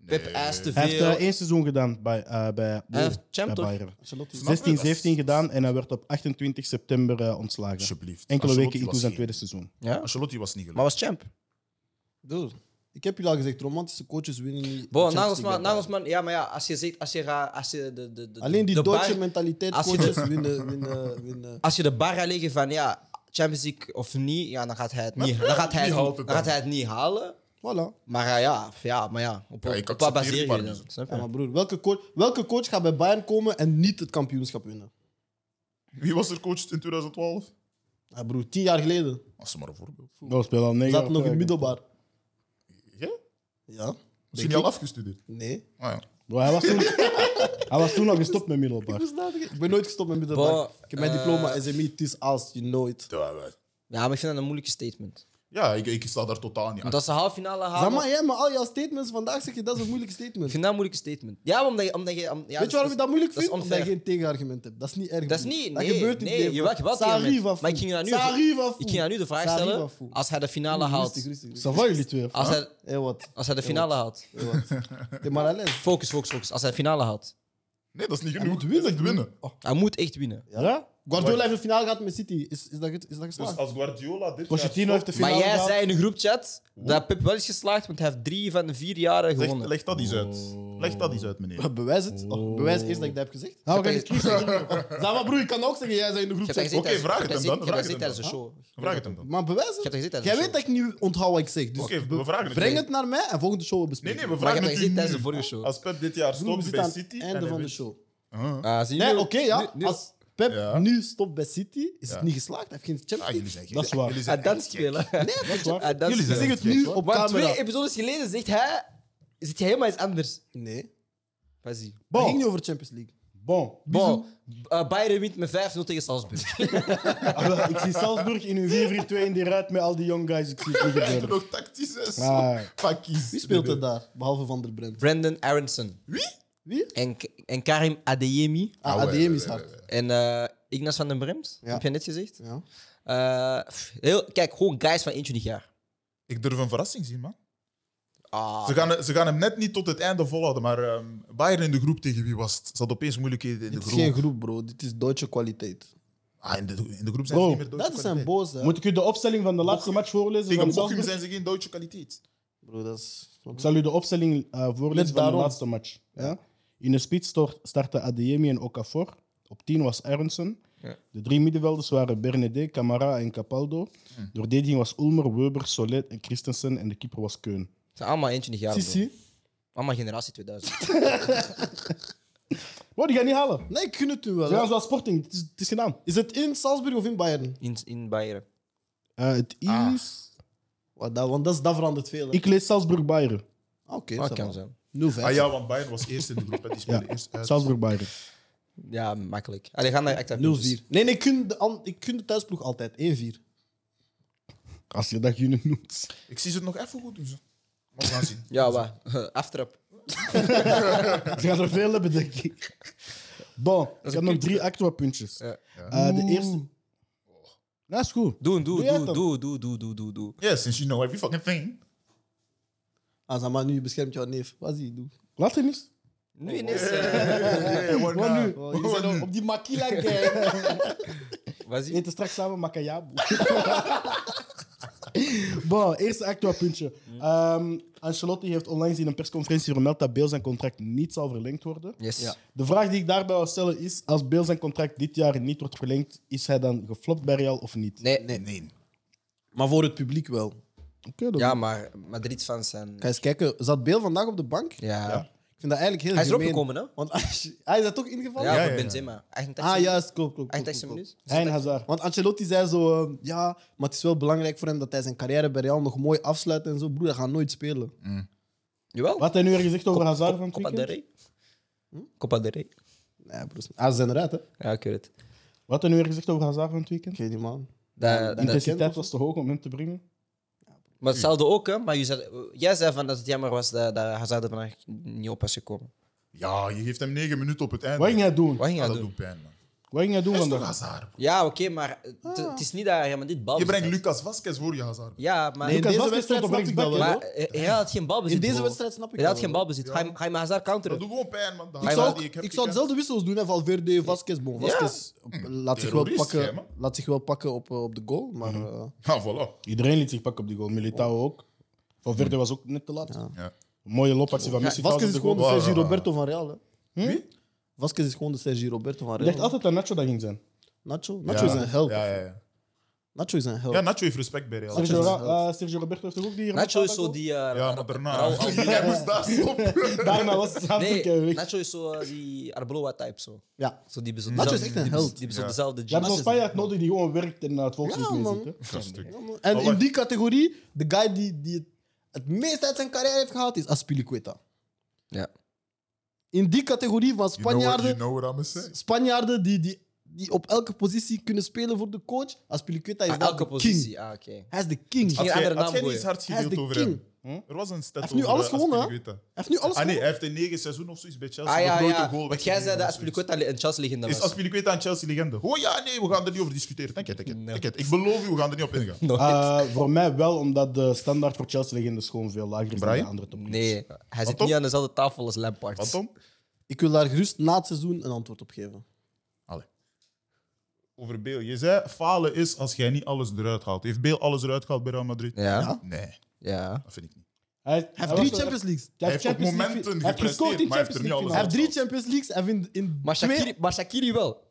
Pep eist te Hij heeft veel. eh, één seizoen gedaan bij, eh bij, Hij heeft champ bij toch? Bayern. Ancelotti. Snap je? 16, Dat is- 17 gedaan en hij werd op 28 september eh, ontslagen. Alsjeblieft. Enkele Ancelotti weken into was zijn geen- tweede seizoen. Ja, Ancelotti was niet gelukt. maar was champ. Dude, ik heb jullie al gezegd, romantische coaches winnen niet. de Bo, Champions Nagelsman, League erbij. Nagelsman, ja, maar ja, als je zegt, als je, gaat- als je de, de, de Alleen die de Duitse bar- mentaliteit Als je coaches winnen, winnen, winnen. als je de bar gaat leggen van ja, Champions League of niet, ja, dan gaat hij het niet, dan gaat hij het, Die houdt het dan. dan gaat hij het niet halen. Voilà. Maar eh, ja, f- ja, maar ja, op, Ja, ik op wat accepteer baseer die je maar dan? niet. Snap je? Ja, maar broer, welke coach, welke coach gaat bij Bayern komen en niet het kampioenschap winnen? Wie was er coach in 2012? Ja, broer, tien jaar geleden. Als ze maar een voorbeeld. Dat Nou, speelt al We negen zaten jaar nog in terug. middelbaar. Ja? Ja? Misschien niet al afgestudeerd. Nee. Ah, ja. Bro, hij, was toen, hij was toen al gestopt met middelbaar. Ik ben nooit gestopt met middelbaar. Bah, ik heb mijn eh, diploma SMI, het is als je nooit. Ja, wij- Ja, maar ik vind dat een moeilijke statement. Ja, ik, ik sta daar totaal niet achter. Want als ze halve finale halen... Zeg maar, jij, maar al jouw statements vandaag zeg je dat is een moeilijke statement. Ik vind dat een moeilijke statement. Ja, maar omdat je... Omdat je om- ja, dus Weet je waarom ik dat moeilijk dat is vind? Omdat je unfair. geen tegenargument hebt. Dat is niet erg. Dat is broer. niet... Dat nee, gebeurt niet. nee, Dave. je wacht wel Sarri tegen mij. van Maar ik Foe. ging daar nu... Sarri van Ik Foe. ging daar nu de vraag Sarri stellen, Ah, van Foe. als hij de finale Rustig, haalt... rustig, rustig. Ça va, jullie twee? of Als wat? hij, Hé, Eh, wat? als hij de finale haalt... Hé, wat? De Marales. Focus, focus, focus. Als hij de finale haalt. Nee, dat is niet Hij genoeg. moet winnen. Hij zegt winnen. Hij moet echt winnen. Ja? Guardiola heeft de finale gehad met City. Is, is, dat, ge- is dat geslaagd? Dus als Guardiola dit Pochettino heeft de finale Maar jij gehaald. zei in een groepchat dat Pep wel is geslaagd, want hij heeft drie van de vier jaren Leg, gewonnen. leg dat eens uit. Leg dat eens uit, meneer. Bewijs het. Oh, bewijs eerst dat ik dat heb gezegd. Nou, we gaan Ik heb kiezen. Zeg maar broer, ik kan ook zeggen, jij zei in de groep. Ik heb dat zeg- gezien Oké, tijdens- vraag ik heb het dat hem dan, gezien- Ik heb vraag dat gezien tijdens de het show. Vraag het hem dan. Maar bewijs Ik heb het. dat gezien tijdens Jij de weet dat ik niet onthoud wat ik zeg. Dus Oké, we vragen het. breng Nee. het naar mij en volgende show we Nee, bespreken. nee, we Maar ik vragen heb het gezien u tijdens nu. de vorige show. Als Pep dit jaar Broer, we stopt zitten aan bij het City... einde en van hij de wint. show. Ah. Ah, zie je? Nee, oké, ja. Nu- nu- Als Pep Ja. nu stopt bij City, is Ja. het niet geslaagd. Hij heeft geen Ah, Champions jullie League. zijn gek. Dat is waar. Jullie zijn Hij danst echt gek. Ah, spelen. Dat is waar. Hij Jullie danst Ik spelen. zeg het nu op Maar twee camera. episodes geleden zegt hij... Zit hij helemaal iets anders. Nee, Pas zie. het ging Bon. niet over Champions League. Bon. Bon, eh, Bayern wint met 5-0 tegen Salzburg. Ah, wel, Ik zie Salzburg in hun 4-4-2 in die ruit met al die young guys. Ik zie het niet Echt gebeuren. nog tactisch is. Maar- Pakkies. Wie speelt er daar, behalve Van der Brent? Brandon Aronson. Wie? En, en Karim Adeyemi. Ah, Ah, ouais, ADM is ouais, hard. ouais, En eh Ignas van den Bremt. Ja. Heb je net gezegd. Ja. Eh, pff, heel, kijk, gewoon guys van 21 jaar. Ik durf een verrassing zien, man. Ah, Ze gaan, ze gaan hem net niet tot het einde volhouden, maar ehm, Bayern in de groep tegen wie was het? Ze hadden opeens moeilijkheden in de Dit is groep. geen groep, bro. Dit is Duitse kwaliteit. Ah, in, de, in de groep zijn Bro, ze niet meer Duitse Dat zijn kwaliteit. boos, hè. Moet ik u de opstelling van de laatste match voorlezen? Tegen Van Bochum Salzburg? zijn ze geen Duitse kwaliteit. Bro, dat is... Ik zal u de opstelling eh, Net voorlezen van de daarom. laatste match. Ja? In de spits stort- starten Adeyemi en Okafor. Op 10 was Aronson. Ja. De drie middenvelders waren Bernede, Camara en Capaldo. Hm. De verdediging was Ulmer, Weber, Solet en Christensen. En de keeper was Keun. ze zijn allemaal 21 jaar. bro. Sissi? Allemaal generatie 2000. Wow, die gaan niet halen. Nee, ik gun het u wel. Ze hè. gaan zoals Sporting. Het is, het is gedaan. Is het in Salzburg of in Bayern? In, in Bayern. Eh, het is... Ah. Wat dat, want dat, is- dat verandert veel. hè. Ik lees Salzburg-Bayern. Ah, Oké, Dat ça kan va. zijn. 0-5. Ah ja, want Bayern was eerst in de groep. hè. Die speelden Ja. eerst uit. Salzburg-Bayern. Ja, makkelijk. Allee, ga naar Acta dus- 0-4. Nee, nee, ik gun de, an- ik gun de thuisploeg altijd. 1-4. Als je dat jullie noemt. Ik zie ze het nog even goed doen. zo. Maar we gaan zien. Ja, wat? Aftrap. Ze gaan er veel hebben, denk ik. Bon, ik heb nog drie actua-puntjes. Ja. Eh, de eerste... Dat is goed. Doe, doe, jij doe, het doe, doe, doe, doe, doe, doe. Yeah, since you know every fucking thing. Ah, zeg maar, nu beschermt jouw neef. Wat zie je doen? Laat hem eens. Nu ineens... eh, Yeah, what Wat nu? now? Oh, jullie zijn Wat nu? op- op die makila gang. Wat zie We eten straks samen macayabu. bon, eerste actua puntje. Ehm, Ancelotti heeft onlangs in een persconferentie vermeld dat Beel zijn contract niet zal verlengd worden. Yes. Ja. De vraag die ik daarbij wil stellen is: als Beel zijn contract dit jaar niet wordt verlengd, is hij dan geflopt bij Real of niet? Nee. Nee. Nee. Maar voor het publiek wel. Oké, dan. Ja, maar Madrid-fans zijn... Ga eens kijken. Zat Beel vandaag op de bank? Ja. Ik vind dat eigenlijk heel Hij is erop gemeen. gekomen, hè? Want als je- hij is daar toch ingevallen? Ja, ja, voor ja. Benzema. Ah, 88 juist. Klopt, klopt. klopt, 88 klopt, klopt. minuten. Hij en Hazard. Want Ancelotti zei zo, ehm, ja, maar het is wel belangrijk voor hem dat hij zijn carrière bij Real nog mooi afsluit en zo. Broer, hij gaat nooit spelen. Mm. Jawel. Wat hij nu weer gezegd over Hazard van Cop- het Copa del weekend? Rey. Copa del Rey. Nee, broer. Ah, ze zijn eruit, hè? Ja, ik weet het. Wat hij nu weer gezegd over Hazard van het weekend? Ik weet niet, man. Dat- dat- Intensiteit was te hoog om hem te brengen. maar hetzelfde ook, hè? Maar je zei, jij zei van dat het jammer was dat, dat Hazard er vandaag niet op was gekomen. Ja, je geeft hem negen minuten op het einde. Wat ging hij doen? Wat ging Ah, hij dat doen? doet pijn, man. Wat ging hij doen Dat is toch vandaag? Hazard, bro. Ja, oké, maar het, het is niet dat hij maar dit bal Je brengt bezit. Lucas Vasquez voor je Hazard. bro. Ja, maar... Nee, in Lucas deze Vazquez wedstrijd stond snap op ik dat wel, rechtsback, Maar hoor. eh, hij had geen balbezit. In deze bro. wedstrijd snap ik Hij had dat geen wel. balbezit. Ga je- Ga je met Hazard Dat counteren? doet gewoon pijn, man. De Ik Ik Hazard zou, die ook- heb ik gekend. zou dezelfde wissels doen, hè, Valverde, Vasquez. Bon, Vasquez eh, laat, zich wel Hm. Terrorist, jij, pakken, man. Hm. laat zich wel pakken op, eh, op de goal, maar... eh, Ja, voilà. Iedereen liet zich pakken op die goal. Militao ook. Van Verde was ook net te laat. Ja. Mooie loopactie van Messi. Vasquez is trouwens, gewoon op de de goal. Hm? Wow. Sergio Roberto van Real, hè. Wie? Vasquez is gewoon de Sergio Roberto van Ik Real. dacht altijd dat Nacho dat ging zijn. Nacho? Nacho is een held. Ja, ja, ja. Nacho is een held. Ja, Nacho heeft respect bij Real. Sergio, Nacho is Ra- een held. eh, Sergio Roberto heeft toch ook die hier Nacho is met zo elkaar die... eh, Ja, maar Raul Bernard. Almeida. Hij moest daar stoppen. gekocht? Daarna was het aan het kijken. Ze Nacho is zo eh, die Arbeloa-type. Zo. Ja. Zo die bezit Nacho is dezelfde- echt die een bezit- held. Die bezit Ja. dezelfde hebben zo'n jeans. Spanjaard nodig die gewoon werkt en eh, het volkslied Ja, mee man. zingt, hè. Gaststuk. En Maar in Oh, wacht. die categorie, de guy die, die het, het meest uit zijn carrière heeft gehaald, is Aspilicueta. Ja. In die categorie van You know what, you Spanjaarden, know what I'm saying. Spanjaarden die, die, die op elke positie kunnen spelen voor de coach, Aspilicueta is Ah, daar elke de king. positie. Ah, oké. Hij is de king. Had Had Geen Hij jij, had andere jij naam niet gooien. eens hard Hij is gedeeld de over king. Hm? hem? Er was een stat heeft nu over, alles eh, gewonnen, hè? Aspilicueta. heeft nu alles Ah nee, gewonnen. hij heeft in negen seizoenen of zoiets bij Chelsea Ah ja, nog nooit een ja. goal Want jij weggegeven zei dat of zoiets. Aspilicueta een Chelsea-legende Is was. Aspilicueta een Chelsea-legende? Oh ja, nee, we gaan er niet over discussiëren. Denk het, denk het, denk het. Ik beloof je, we gaan er niet op ingaan. Nooit. Eh, voor mij wel, omdat de standaard voor Chelsea-legendes gewoon veel lager is dan Brian? de andere Ah. topclubs. Nee, hij zit Tom? niet aan dezelfde tafel als Lampard. Wat dan? Ik wil daar gerust na het seizoen een antwoord op geven. Over Beel. Je zei, falen is als jij niet alles eruit haalt. Heeft Beel alles eruit gehaald bij Real Madrid? Ja. Nee, Ja. dat vind ik niet. Hij, Hij hij Ah, heeft drie was- Champions Leagues. hij heeft op Champions League- momenten hij heeft gescoord in gepresteerd, maar hij Champions heeft er League niet alles Hij finale. heeft drie Champions Leagues. Hij heeft in, in Maar twee- Shakiri, maar Shakiri wel.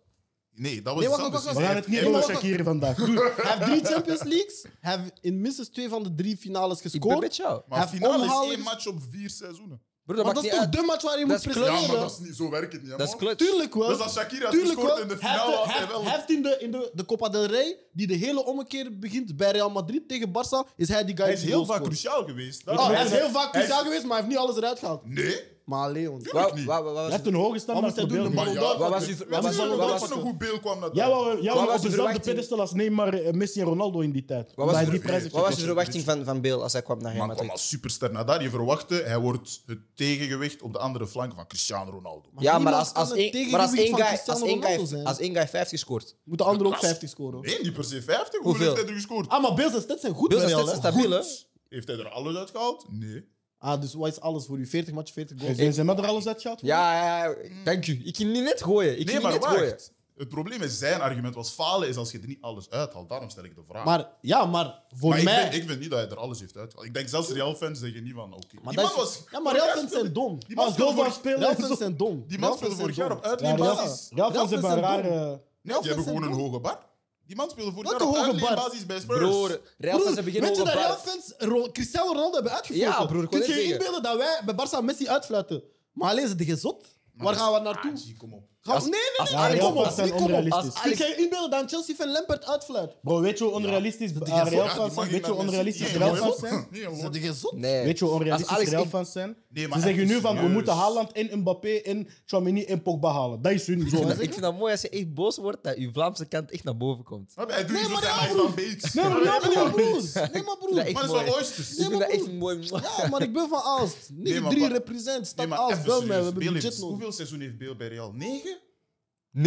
Nee, dat was Nee, iets wacht, anders. wacht, We gaan het niet Hij over heeft- Shakiri vandaag. Hij heeft drie Champions Leagues. Hij heeft in minstens twee van de drie finales Ik ben gescoord. met jou. Hij Maar heeft finale is omhalen- één match op vier seizoenen. Bro, dat Maar maakt dat is niet toch uit. de match waar je Dat moet is clutch. presteren? Ja, maar dat is niet, zo werkt het niet. hè, Dat is man. clutch. Tuurlijk wel. Dus als Shakira had Tuurlijk gescoord wel. in de Hij heeft finale, had hij hij heeft- wel- hij heeft in de, in de, de Copa del Rey, die de hele ommekeer begint bij Real Madrid tegen Barça, is hij die guy Hij is die heel goals vaak scoort. cruciaal geweest. Dat- Oh, hij is heel vaak Hij is- cruciaal geweest, maar hij heeft niet alles eruit gehaald. Nee, Maar Leon. Wa- wa- niet. wa- wa- Hij was- heeft een hoge standaard Wat moet hij voor doen? België. Maar- maar ja. Wat was uw- wat was- Weet je wat nog was- een goed beeld kwam dat Ja, wel, ja, Wat wel op was de dezelfde verwachting? pedestal als Neymar, eh, Messi en Ronaldo in die tijd. Wat was, Omdat de- hij die prijs verwachting? wat was heeft de gekocht. verwachting van, van Bale als hij kwam naar Real Maar kwam Madrid? als superster naar daar. Je verwachtte, hij wordt het tegengewicht op de andere flank van Cristiano Ronaldo. Ja, maar niemand als, als, kan het één, maar als tegengewicht één van guy, als Cristiano één Ronaldo guy, zijn. als één guy 50 scoort. Moet de andere ook Kras. 50 scoren. Nee, niet per se 50. Hoeveel Hoeveel? heeft hij er gescoord? Ah, maar Beels en Stats zijn goed Beals bij en Real, Stats hè? zijn stabiel, hè? Goed. Heeft hij er alles uit gehaald? Nee. Ah, dus wat is alles voor u? 40 match, 40 goals. Zijn- Zijn we er alles uit gehad? Ja, ja, ja, dank u. Ik kan niet net gooien. Ik Nee, kan maar niet net gooien. wacht. Het probleem is, zijn argument was falen is als je er niet alles uithaalt. Daarom stel ik de vraag. Maar ja, maar voor Maar ik, mij... vind, ik vind niet dat hij er alles heeft uitgehaald. Ik denk zelfs Real-fans zeggen niet van, oké. Maar die man dat is- was... ja, maar Real fans zijn dom. Die man Als speelde Dovan vorig, spelen. Real fans zijn dom. die Real man fans speelde zijn vorig jaar dom. op uitleenbasis. Real Real fans hebben fans een zijn rare... Nee, die Real hebben fans gewoon een zijn hoge bar. Die man speelde vorig Welke jaar op hoge bar? uitleenbasis bij Spurs. Broer, Real Broer, Fans hebben geen weet je hoge dat Real bar. fans Ro- Cristiano Ronaldo hebben uitgevlogen? Ja, broer, ik wou Kun je net je zeggen. inbeelden dat wij bij Barça Messi uitfluiten? Maar alleen, zit je zot? Waar gaan we naartoe? Ah, zie, kom op. Gaan we- nee, nee, als nee, Ja, nee, Real kom op. fans zijn nee, kom op. onrealistisch. Kun je je inbeelden dat een Chelsea-fan Lampert uitfluit? Bro, weet je hoe onrealistisch eh, Ja, Real die fans mag zijn? je Weet je naar hoe onrealistisch Messi- Real Nee, fans hoor. zijn? Nee, hoor. Zit je zot? Nee. Weet je hoe Als onrealistisch Alex- Real fans zijn? Nee, maar Ze zeggen even nu van, we serieus. moeten Haaland en Mbappé en Chouamini en Pogba halen. Dat is hun zo. Ik vind dat mooi als je echt boos wordt, dat je Vlaamse kant echt naar boven komt. Maar Hij doet Nee, niet zo maar zijn ja, hij is broer. van Beeks. Nee, maar hij is broer, van Beeks. broer. Nee, maar Dat broer. is Maar echt dat is wel mooi. oysters. Ik vind dat maar echt broer. mooi. Ja, maar ik ben van Aalst. Nee, maar 3 wat- represent. Nee, Stap maar Aalst, even bel mij. We serieus. hebben Beel budget heeft- nodig. Hoeveel seizoen heeft Beel bij Real? Negen?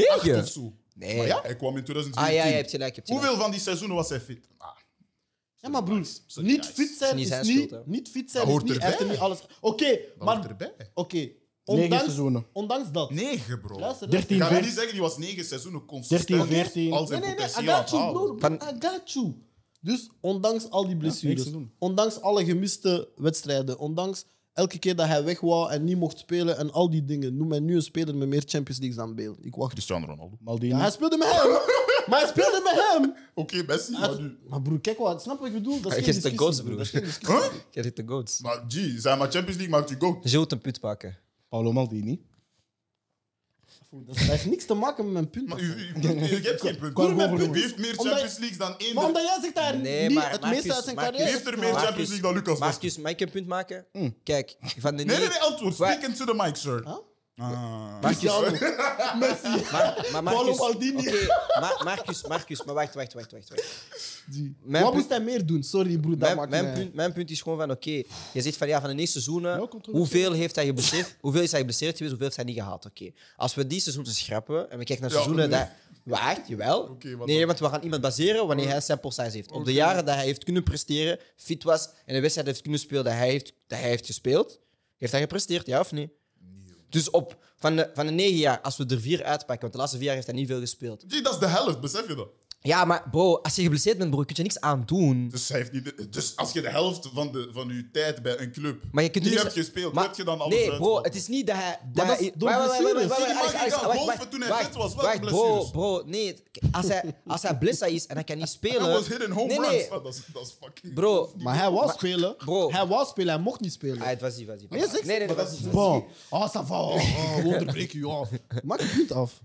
Acht of Negen? zo? Maar Nee. ja, Ah hij kwam in ja, 2014. je hebt gelijk. je nou. hebt gelijk. Hoeveel van die seizoenen was hij fit? Ah, Ja, maar broer. Sorry, Niet guys. fit zijn Niet zijn is schuld, niet... hè. Niet fit Dat zijn is hoort niet... Hij heeft er erbij. niet alles... Oké, dat was maar... erbij. Oké. Negen Ondanks... seizoenen. Ondanks dat. Negen, bro. Luister, luister. 13, Ik ga 14. niet zeggen, die was negen seizoenen 13, consistent. 14. Al Nee, zijn nee, nee, I potentieel aan got het you, halen. bro. I got you. Dus ondanks al die blessures, niks te doen. ondanks alle gemiste wedstrijden, ondanks elke keer dat hij weg wou en niet mocht spelen en al die dingen, noem mij nu een speler met meer Champions Leagues dan Bale. Ik wacht. Cristiano Ronaldo. Maldini. Ja, hij speelde met hem. maar hij speelde met hem. Oké, Messi, maar Hij- nu... Maar broer, kijk wat, snap wat ik bedoel? Dat is Hij geen geeft de discussie, goals, broer. broer. Dat is geen discussie. Huh? Je zit de goats. Maar G, zijn maar Champions League maakt je goat. Je wilt een put pakken. Paolo Maldini. Dat heeft niks te maken met mijn punt. Maar Maar, u, u, u- je hebt geen punt. Qua Broer, goal- Wie heeft meer Omdat- Champions Leagues dan één? omdat jij zegt dat hij Nee, niet maar het Marcus, meeste uit zijn Marcus- carrière Wie heeft er meer Marcus- Champions League dan Lucas Vasquez? Marcus, mag ik een punt maken? Hmm. Kijk, van de Nee, nee, negen- nee, antwoord. Wa- Speak into the mic, sir. Huh? Ah. Marcus, Messi. maar, maar Paolo Marcus, Maldini. Oké, maar Marcus, Marcus, maar wacht, wacht, wacht, wacht. wacht. Mijn Wat punt- moest hij meer doen? Sorry, broer, dat Mijn, maakt mijn mij- punt, mijn punt is gewoon van, oké, je zegt van ja, van de eerste seizoenen, Nou, Ja, komt terug. hoeveel, heeft hij geblesseerd, hoeveel is hij geblesseerd geweest, hoeveel heeft hij niet gehaald? Oké, als we die seizoenen schrappen en we kijken naar Ja, seizoenen nee. dat... Wacht, jawel. Oké, wat nee, dan? want we gaan iemand baseren wanneer hij sample size heeft. Op de jaren dat hij heeft kunnen presteren, fit was en de wedstrijd heeft kunnen spelen dat hij heeft, dat hij heeft gespeeld, heeft hij gepresteerd, ja of nee? Dus op, van, de, van de negen jaar, als we er vier uitpakken, want de laatste vier jaar heeft hij niet veel gespeeld. G, dat is de helft, besef je dat? Ja, maar bro, als je geblesseerd bent, bro, kun je niks aan doen. Dus, hij heeft niet de- dus als je de helft van, de, van je tijd bij een club Maar je kunt niet niks- hebt gespeeld, Maar- heb je dan alles Nee, bro, uitgehaald? het is niet dat hij... Maar dat hij- is door Wacht, wacht, wacht, wacht, blessures. wacht, Die man ging wacht, wacht, gaan wacht, golfen wacht, toen hij wacht, fit was. Welke wacht, bro, blessures? bro, nee. Als hij, als hij blessa is en hij kan niet spelen... Dat was hidden home nee, runs. nee, Ah, Dat, is, dat is fucking... bro. Maar hij was Maar- spelen. Bro. Hij was spelen, hij mocht niet spelen. Ah, het was die, was die. Maar je zegt- Nee, nee, nee, maar was die, was die. Bon. Oh, ça va. Oh, oh, we onderbreken je. Oh. Maak het niet af.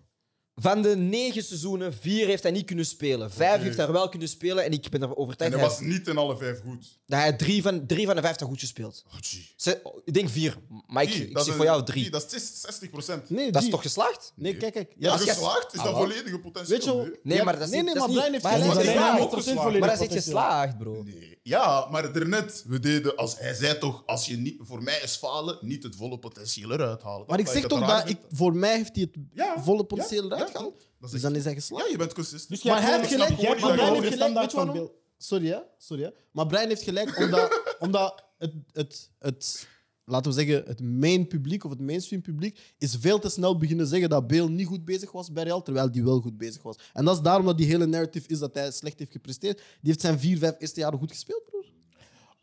Van de negen seizoenen, vier heeft hij niet kunnen spelen. Vijf heeft hij wel kunnen spelen. En ik ben ervan En overtuigd dat dat hij, was niet in alle vijf goed. dat hij drie, van, drie van de vijftig goed gespeeld. Oh, gee. Ze- ik denk vier, maar ik, Gee, ik dat zeg is voor jou een- drie. Gee, Dat is 60 procent. Nee, Dat is die- toch geslaagd? Nee, kijk, kijk. Ja, Ja, als je- geslaagd is Ah, dat wel. volledige potentieel. weet je wel- Nee, Ja, maar dat is nee, niet- nee, dat is maar niet- Brian heeft maar hij gelijk. is- Brian hij heeft ook 100% geslaagd. volledig Maar dat is niet potentieel. geslaagd, bro. Nee. Ja, maar daarnet, we deden, als hij zei toch, als je niet, voor mij is falen, niet het volle potentieel eruit halen. Maar ik zeg toch dat ik, voor mij heeft hij het Ja, volle ja, potentieel eruit ja, gehaald. dat is Dus echt- dan is hij geslaagd. Ja, je bent consistent. Dus Maar hij gewoon- heeft ik snap gelijk. gewoon Maar niet dat Brian je heeft over gelijk. Weet standaard je waarom? van Sorry, hè? Sorry, hè? Maar Brian heeft gelijk omdat, omdat het, het, het, laten we zeggen, het main publiek of het mainstream publiek is veel te snel beginnen zeggen dat Bale niet goed bezig was bij Real, terwijl die wel goed bezig was. En dat is daarom dat die hele narrative is dat hij slecht heeft gepresteerd. Die heeft zijn vier, vijf eerste jaren goed gespeeld, broer.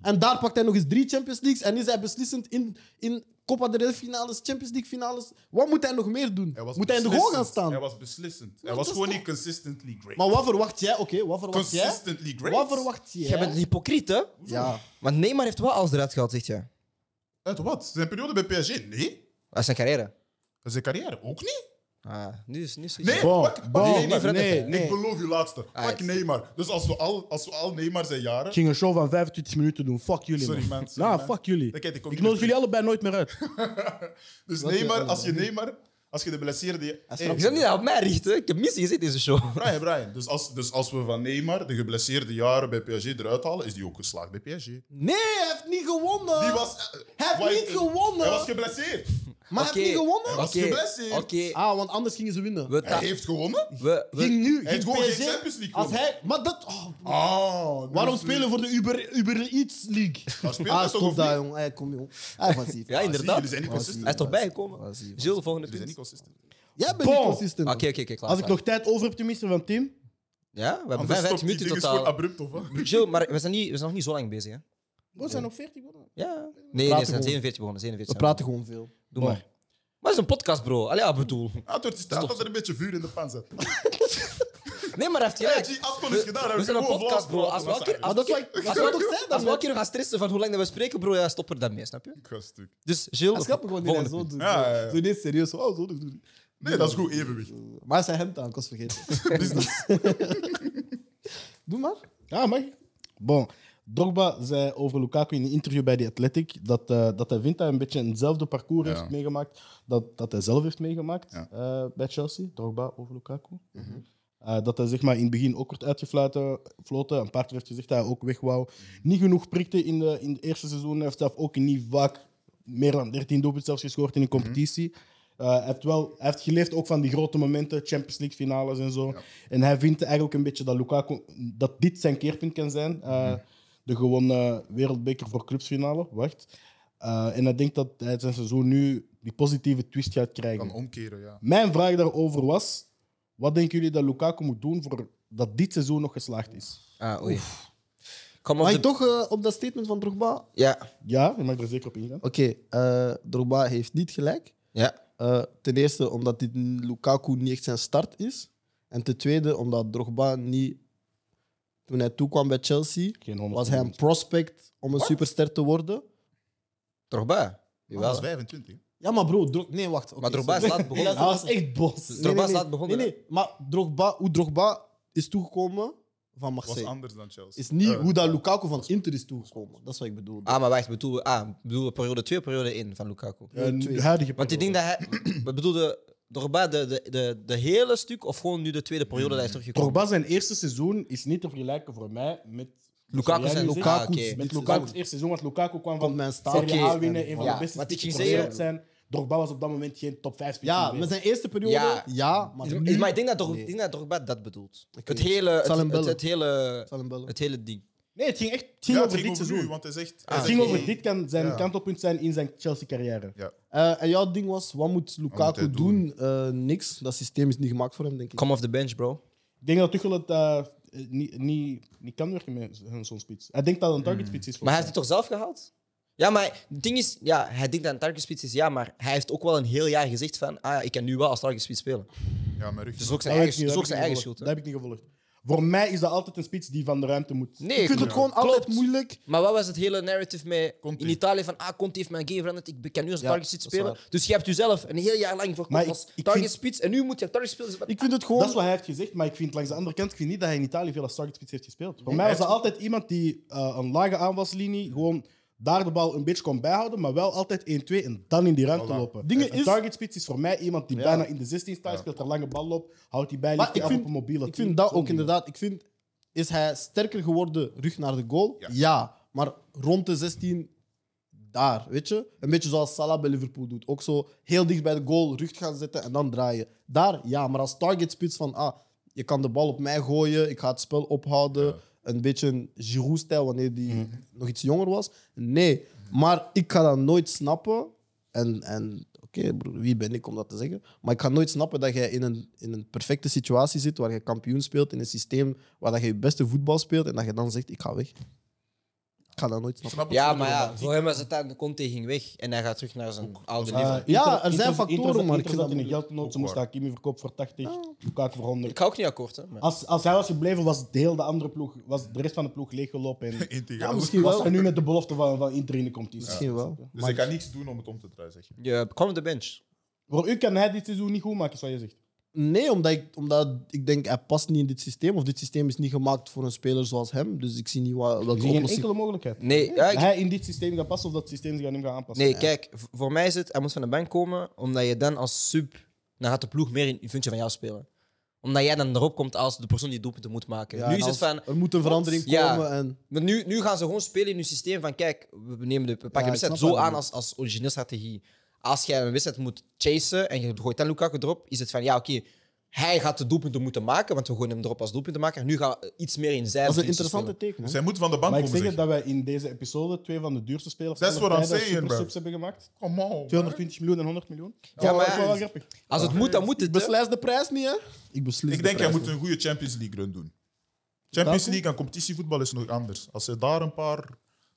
En daar pakt hij nog eens drie Champions Leagues en is hij beslissend in, in Copa del Rey finales, Champions League finales. Wat moet hij nog meer doen? Hij was moet hij in de goal beslissend. gaan staan? Hij was beslissend. hij Maar was dat gewoon is niet consistently great. Maar wat verwacht jij? Oké, wat verwacht jij? consistently great. Wat verwacht jij? Jij bent een hypocriet, hè? Ja. Want Neymar heeft wel alles eruit gehaald, zegt jij. Uit wat? Zijn periode bij PSG? Nee. Uit zijn carrière. Zijn carrière ook niet? Ah, nu is nu is Nee, Bon, pak, bon, pak nee, Neymar. nee, Ik nee. beloof je laatste. Pak Ah, Alright. Neymar. Dus als we al, als we al Neymar zijn jaren... Ik ging een show van 25 minuten doen. Fuck jullie, Sorry, man. man, sorry, Nah, man. fuck jullie. Dan kijk ik ook Ik niet Oh, nodig meer jullie allebei nooit meer uit. Dus Wat- Neymar, wat- als je Neymar... Als je de blesseerde... Je zou niet op mij richten. Ik heb missie gezien deze show. Brian, Brian. Dus als, dus als we van Neymar de geblesseerde jaren bij PSG eruit halen, is die ook geslaagd bij PSG. Die Nee, hij heeft niet gewonnen. Ah. was... eh, Hij heeft why- niet gewonnen. Hij was geblesseerd. Maar hij heeft niet gewonnen. was Oké, geblesseerd. Oké, Ah, want anders gingen ze winnen. we, ta- Hij heeft gewonnen. we, we- Ging nu. heeft Ging gewoon geen PSG, Champions League Als gewonnen. hij, maar dat. oh, Oh, nu waarom is- spelen voor de Uber, Uber Eats League? Daar speelt hij Ah, toch of stop niet? daar, jong. Hey, kom, jong. Hey, van Sief. Ja, Ah, zie je, inderdaad. Jullie zijn niet Hij is consistent. toch bijgekomen? Vas-y, vas-y. Zul, volgende Jullie zijn niet punt. consistent. Jij bent Bon. niet consistent. Oké, oké, oké, klaar. Als ik klaar. nog tijd over heb, tenminste, van Tim. Ja, we hebben Anders stopt 55 die minuten ding gewoon totaal. abrupt, of wat? Jill, maar we zijn, niet, we zijn nog niet zo lang bezig, hè? We zijn nog 40 man. Ja. Nee, nee, praten ze zijn gewoon. 47 begonnen. 47 We zijn praten gewoon veel. we. Doe maar. Maar het is een podcast, bro. Allee, ja, bedoel. Ah, het is tijd dat er een beetje vuur in de pan zit. Nee, maar hij heeft Ja, gelijk. die afkomst is gedaan. We zijn een podcast, bro. Als we elke keer- Maar dat is wat ik- als dat we is wat elke ik toch zei. keer- als we elke keer gaan stressen van hoe lang dat we spreken, bro, ja, stop er dan mee, snap je? Ik ga stuk. Dus Jill, Dat snap ik gewoon niet. volgende hè, Zo punt. doen. Ja, ja, ja. Zo niet serieus. Oh, zo doen. Nee, dat is goed evenwicht. Maar zijn hemd aan, ik was vergeten. Business. Doe maar. Ja, mag. Bon. Drogba zei over Lukaku in een interview bij The Athletic dat, eh, dat hij vindt dat hij een beetje hetzelfde parcours Ja. heeft meegemaakt dat, dat hij zelf heeft meegemaakt Ja. eh, bij Chelsea. Drogba over Lukaku. Eh, dat hij zeg maar, in het begin ook werd uitgefloten. floten. Een paar keer heeft gezegd dat hij ook weg wou. Niet genoeg prikte in, de, in het eerste seizoen. Hij heeft zelf ook niet vaak meer dan 13 doelpunten zelfs gescoord in een competitie. Eh, hij, heeft wel, hij heeft geleefd ook van die grote momenten, Champions League finales en zo. En hij vindt eigenlijk een beetje dat Lukaku, dat dit zijn keerpunt kan zijn. Eh, De gewonnen wereldbeker voor clubsfinale, wacht. Eh, en hij denkt dat hij zijn seizoen nu die positieve twist gaat krijgen. Kan omkeren, ja. Mijn vraag daarover was: wat denken jullie dat Lukaku moet doen voor dat dit seizoen nog geslaagd is? Ah, oei. Kom op Mag de... ik toch eh, op dat statement van Drogba? Ja. Ja, je mag er zeker op ingaan. Oké, eh, Drogba heeft niet gelijk. Ja. Eh, ten eerste omdat dit Lukaku niet echt zijn start is. En ten tweede omdat Drogba niet... Toen hij toekwam bij Chelsea, Geen 100 was hij een prospect om een superster te worden. Drogba. Jawel, Dat is hè. 25. Ja, maar bro, Drog- nee, wacht. oké, Maar Drogba is sorry. laat begonnen. Hij was echt bos. Dus Nee, Drogba nee, is nee. laat begonnen, Nee, nee, maar Drogba, hoe Drogba is toegekomen van Was Marseille, anders dan Chelsea. is niet Eh, hoe dat Lukaku van Inter is toegekomen. Dat is wat ik bedoel. Ah, maar wacht, bedoelen we, ah, bedoelen we periode 2 periode 1 van Lukaku? Een Eh, twee. huidige Want ik denk dat hij... We bedoelden Drogba de, de, de, de hele stuk of gewoon nu de tweede periode dat hij Mm. is teruggekomen? Drogba zijn eerste seizoen is niet te vergelijken voor mij met Lukaku Jij zijn nu zegt- Lukaku. Lukaku's oké. met dit Lukaku's seizoen. eerste seizoen, want Lukaku kwam Komt van mijn staart. Serie A Oké. winnen, een van Ja, de beste want ik ging spitsen ter wereld zeggen- zijn. Drogba was op dat moment geen top 5 speler Ja, meer. met zijn eerste periode, Ja. ja, maar Is- nu... Maar ik denk dat, Drog, Nee. ik denk dat Drogba dat bedoelt. Oké. Het, hele, het, zal hem het, bellen. het hele, Ik zal hem bellen. het hele ding. Nee, het ging echt het Ja, ging het over ging dit over seizoen. u, want hij zegt... Ah, het ging oké. over dit kan zijn Ja. kantelpunt zijn in zijn Chelsea-carrière. Ja. Eh, en jouw ding was, wat moet Lukaku hij doen? Eh, niks. Dat systeem is niet gemaakt voor hem, denk ik. Come off the bench, bro. Ik denk dat Tuchel het eh, niet niet niet kan werken met hun- zo'n spits. Hij denkt dat het een targetspits is. Maar hij volgens heeft het toch zelf gehaald? Ja, maar het ding is, ja, hij denkt dat een targetspits is, ja, maar hij heeft ook wel een heel jaar gezegd van, ah, ja, ik kan nu wel als targetspits spelen. Ja, mijn rug. Dat is ook mij. zijn Dat eigen, weet ik niet, dat is ook dat zijn heb ik eigen niet schuld. gevolgd. hè. Dat heb ik niet gevolgd. Voor mij is dat altijd een spits die van de ruimte moet. Nee, Ik vind het klopt. gewoon altijd moeilijk. Maar wat was het hele narrative met Conte. in Italië van ah, Conte heeft mijn game veranderd, ik be- kan nu als Ja, targetspits dat is spelen. Dus je hebt jezelf een heel jaar lang Maar verkocht ik- als ik targetspits en nu moet je targetspelers... Ik vind het Dat is gewoon... wat hij heeft gezegd, maar ik vind langs de andere kant ik vind niet dat hij in Italië veel als targetspits heeft gespeeld. Voor mij was dat altijd iemand die eh, een lage aanvalslinie gewoon daar de bal een beetje kon bijhouden, maar wel altijd 1-2 en dan in die ruimte Voilà. lopen. Dingen een is- targetspits is voor mij iemand die Ja. bijna in de 16 staat, speelt er lange bal op, houdt die bij, Maar ligt die ik af op vind- een mobiele Ik team. vind dat Zo'n ook ding. inderdaad. Ik vind, is hij sterker geworden rug naar de goal? Ja. Ja. Maar rond de 16, daar, weet je? Een beetje zoals Salah bij Liverpool doet. Ook zo heel dicht bij de goal, rug gaan zetten en dan draaien. Daar, ja. Maar als targetspits van, ah, je kan de bal op mij gooien, ik ga het spel ophouden. Een beetje een Giroud-stijl, wanneer die nog iets jonger was. Nee. Maar ik ga dat nooit snappen. En, en oké, broer, wie ben ik om dat te zeggen? Maar ik ga nooit snappen dat jij in een, in een perfecte situatie zit waar je kampioen speelt, in een systeem waar dat je je beste voetbal speelt en dat je dan zegt, ik ga weg. Ik ga dat nooit snappen. Snap het wel, Ja, maar maar ja, voor hem was het dan, Conte ging weg en hij gaat terug naar zijn oude Eh, leven. Inter- Ja, er Inter- zijn Inter- factoren, Inter zat- maar ik Inter vind zat dat in de moeilijk. geldnood, ze Ook moesten waar. Hakimi verkopen voor 80, Lukaku voor 100. Ik ga ook niet akkoord, hè. Ah. maar- Als, als hij was gebleven, was de hele de andere ploeg, was de rest van de ploeg leeggelopen. En Integraal. Ja, misschien was wel. hij nu met de belofte van, van Inter in de competitie. Misschien wel. Dus ik kan niks doen om het om te draaien, zeg je. Je kwam op de bench. Voor u kan hij dit seizoen niet goed maken, is wat je zegt. Nee, omdat ik, omdat ik denk, hij past niet in dit systeem. Of dit systeem is niet gemaakt voor een speler zoals hem. Dus ik zie niet wat, Er is welke geen oplossing... enkele mogelijkheid. Nee, ja, ik- Dat hij in dit systeem gaat passen of dat systeem zich aan hem gaat aanpassen. nee kijk, v- voor mij is het, hij moet van de bank komen, omdat je dan als sub, dan gaat de ploeg meer in in functie van jou spelen. Omdat jij dan erop komt als de persoon die doelpunten moet maken. Ja, nu en is het als- van, Er moet een verandering Ja. komen en... Maar nu, nu gaan ze gewoon spelen in hun systeem van kijk, we, nemen de, we pakken ik de wedstrijd snap zo wat je aan als, bedoelt. als origineel strategie. Als jij een wedstrijd moet chasen en je gooit dan Lukaku erop, is het van ja, oké, hij gaat de doelpunten moeten maken, want we gooien hem erop als doelpuntenmaker. Nu gaan we iets meer in zijn Dat is positie een interessante spelen. teken. hè? Zij moet van de bank Maar ik komen, zeg zeg het je. dat wij in deze episode twee van de duurste spelers Dat is aller what I'm tijden saying, supersubs bro. hebben gemaakt. Come on, man. 220 miljoen en 100 miljoen. Ja, maar dat is wel ja, grappig. Als het moet, dan moet Ik het. hè. beslis de prijs niet, hè? Ik beslis Ik de denk, hij prijs moet niet. een goede Champions League run doen. Champions Welke? League en competitievoetbal is nog anders. Als hij daar een paar...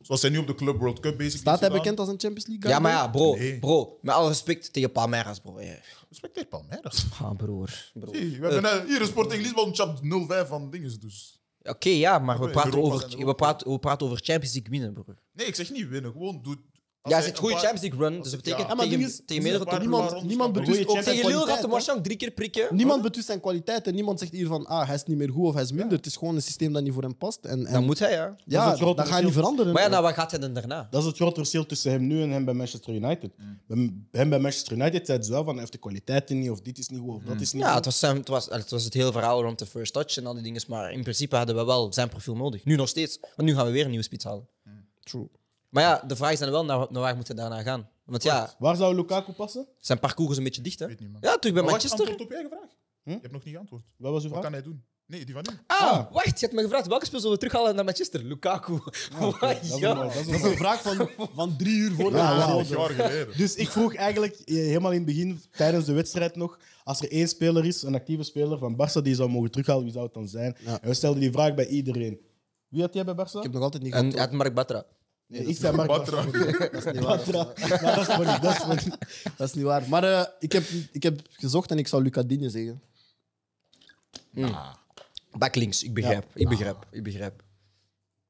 Zoals hij nu op de Club World Cup bezig Staat is hij bekend als een Champions League Ja, maar ja, bro, Nee. bro, met alle respect tegen Palmeiras, bro. eh. Respecteer Palmeiras. Ah, broer. broer. Hey, we hebben eh, hier een Sporting Lisbon chap 0-5 van dinges dus. Oké, ja, maar we Europa praten, zijn over, er we, ook. praten, we praten over Champions League winnen, broer. Nee, ik zeg niet winnen. Gewoon doe... als Ja, hij het is een een goede paar- Champions League run, dus dat het- betekent ja. maar tegen, ding is, tegen er meerdere zijn top- een paar Niemand, Waarom? niemand Een betwist goede ook zijn Champions Tegen Lille gaat kwaliteit. hem hè? waarschijnlijk drie keer prikken. Niemand betwist zijn kwaliteit en niemand zegt hier van ah, hij is niet meer goed of hij is minder. Het is gewoon een systeem dat niet voor hem past. En, en Dan moet hij, ja. Dat is ja, het grote dat gaat niet verschil. veranderen. Maar ja, nou, wat gaat hij dan daarna? Dat is het grote verschil tussen hem nu en hem bij Manchester United. Bij Hem bij Manchester United zei het wel van hij heeft de kwaliteiten niet, of dit is niet goed, of dat is niet Ja, goed. het was, zijn- het, was, het was het hele verhaal rond de first touch en al die dingen. Maar in principe hadden we wel zijn profiel nodig. Nu nog steeds. Want nu gaan we weer een nieuwe spits halen. True. Maar ja, de vraag is dan wel, naar, naar waar moet hij daarna gaan? Want ja, Waar zou Lukaku passen? zijn parcours is een beetje dicht, hè? Weet niet, man. Ja, terug bij Maar wacht, Manchester. antwoord op je eigen vraag. Hm? Je hebt nog niet geantwoord. Wat was uw Wat vraag? kan hij doen? Nee, die van nu. Ah, wacht, je hebt me gevraagd welke speel zullen we terughalen naar Manchester? Lukaku. Ah, oké, Wauw, dat is een- ja. dat is een- Dat is een vraag van, van drie uur voor de Ja, Dat wauw. is een jaar geleden. Dus ik vroeg eigenlijk eh, helemaal in het begin, tijdens de wedstrijd nog, als er één speler is, een actieve speler van Barça die zou mogen terughalen, wie zou het dan zijn? Ja. En we stelden die vraag bij iedereen. Wie had jij bij Barça? Ik heb nog altijd niet En gehad. uit Mark Batra. Nee, ik zei Mark Batra. Dat is niet waar. Batra. Maar dat is funny, dat is funny. Dat is niet waar. Maar eh, ik, heb, ik heb gezocht en ik zou Lucadine zeggen. Backlinks, ik begrijp. Ik begrijp. Ik begrijp.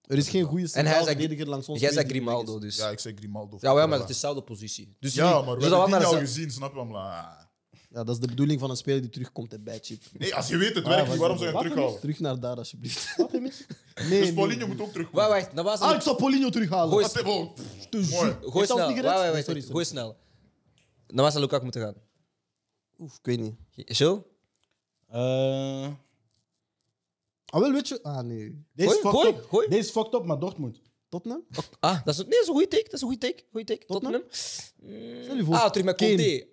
Er is geen goede En hij Ah. centraal zei- verdediger langs ons. Jij zei tweede die Grimaldo, weg dus. Ja, ik zeg Grimaldo. Ja, wel, maar het is dezelfde positie. Dus Ja, maar we dus hebben dat het niet wel al naar gezien, snap je? Maar... is. Ja, dat is de bedoeling van een speler die terugkomt en bijchip. Nee, als je weet het werkt niet, waarom zou je hem terughalen? Terug naar daar, alsjeblieft. Nee, dus Paulinho moet ook terugkomen. Wacht, wacht. Dat was Ah, ik zou Paulinho terughalen. Gooi- Dat is- oh, pff, Mooi. Gooi Is dat snel. niet Wacht, gered? wacht, wacht. Nee, sorry, sorry. Gooi snel. Naar waar zou Lukaku moeten gaan? Oef, ik weet niet. Chill? Eh, Ah, wel, weet je... Ah, nee. Deze is Gooi, fucked gooi, up. gooi. Deze is fucked up, maar Dortmund. Tottenham? Ah, dat is, nee, dat is een goede take. Dat is een goede take. Goeie take. Tottenham. Stel je voor, Ah, terug met Conte.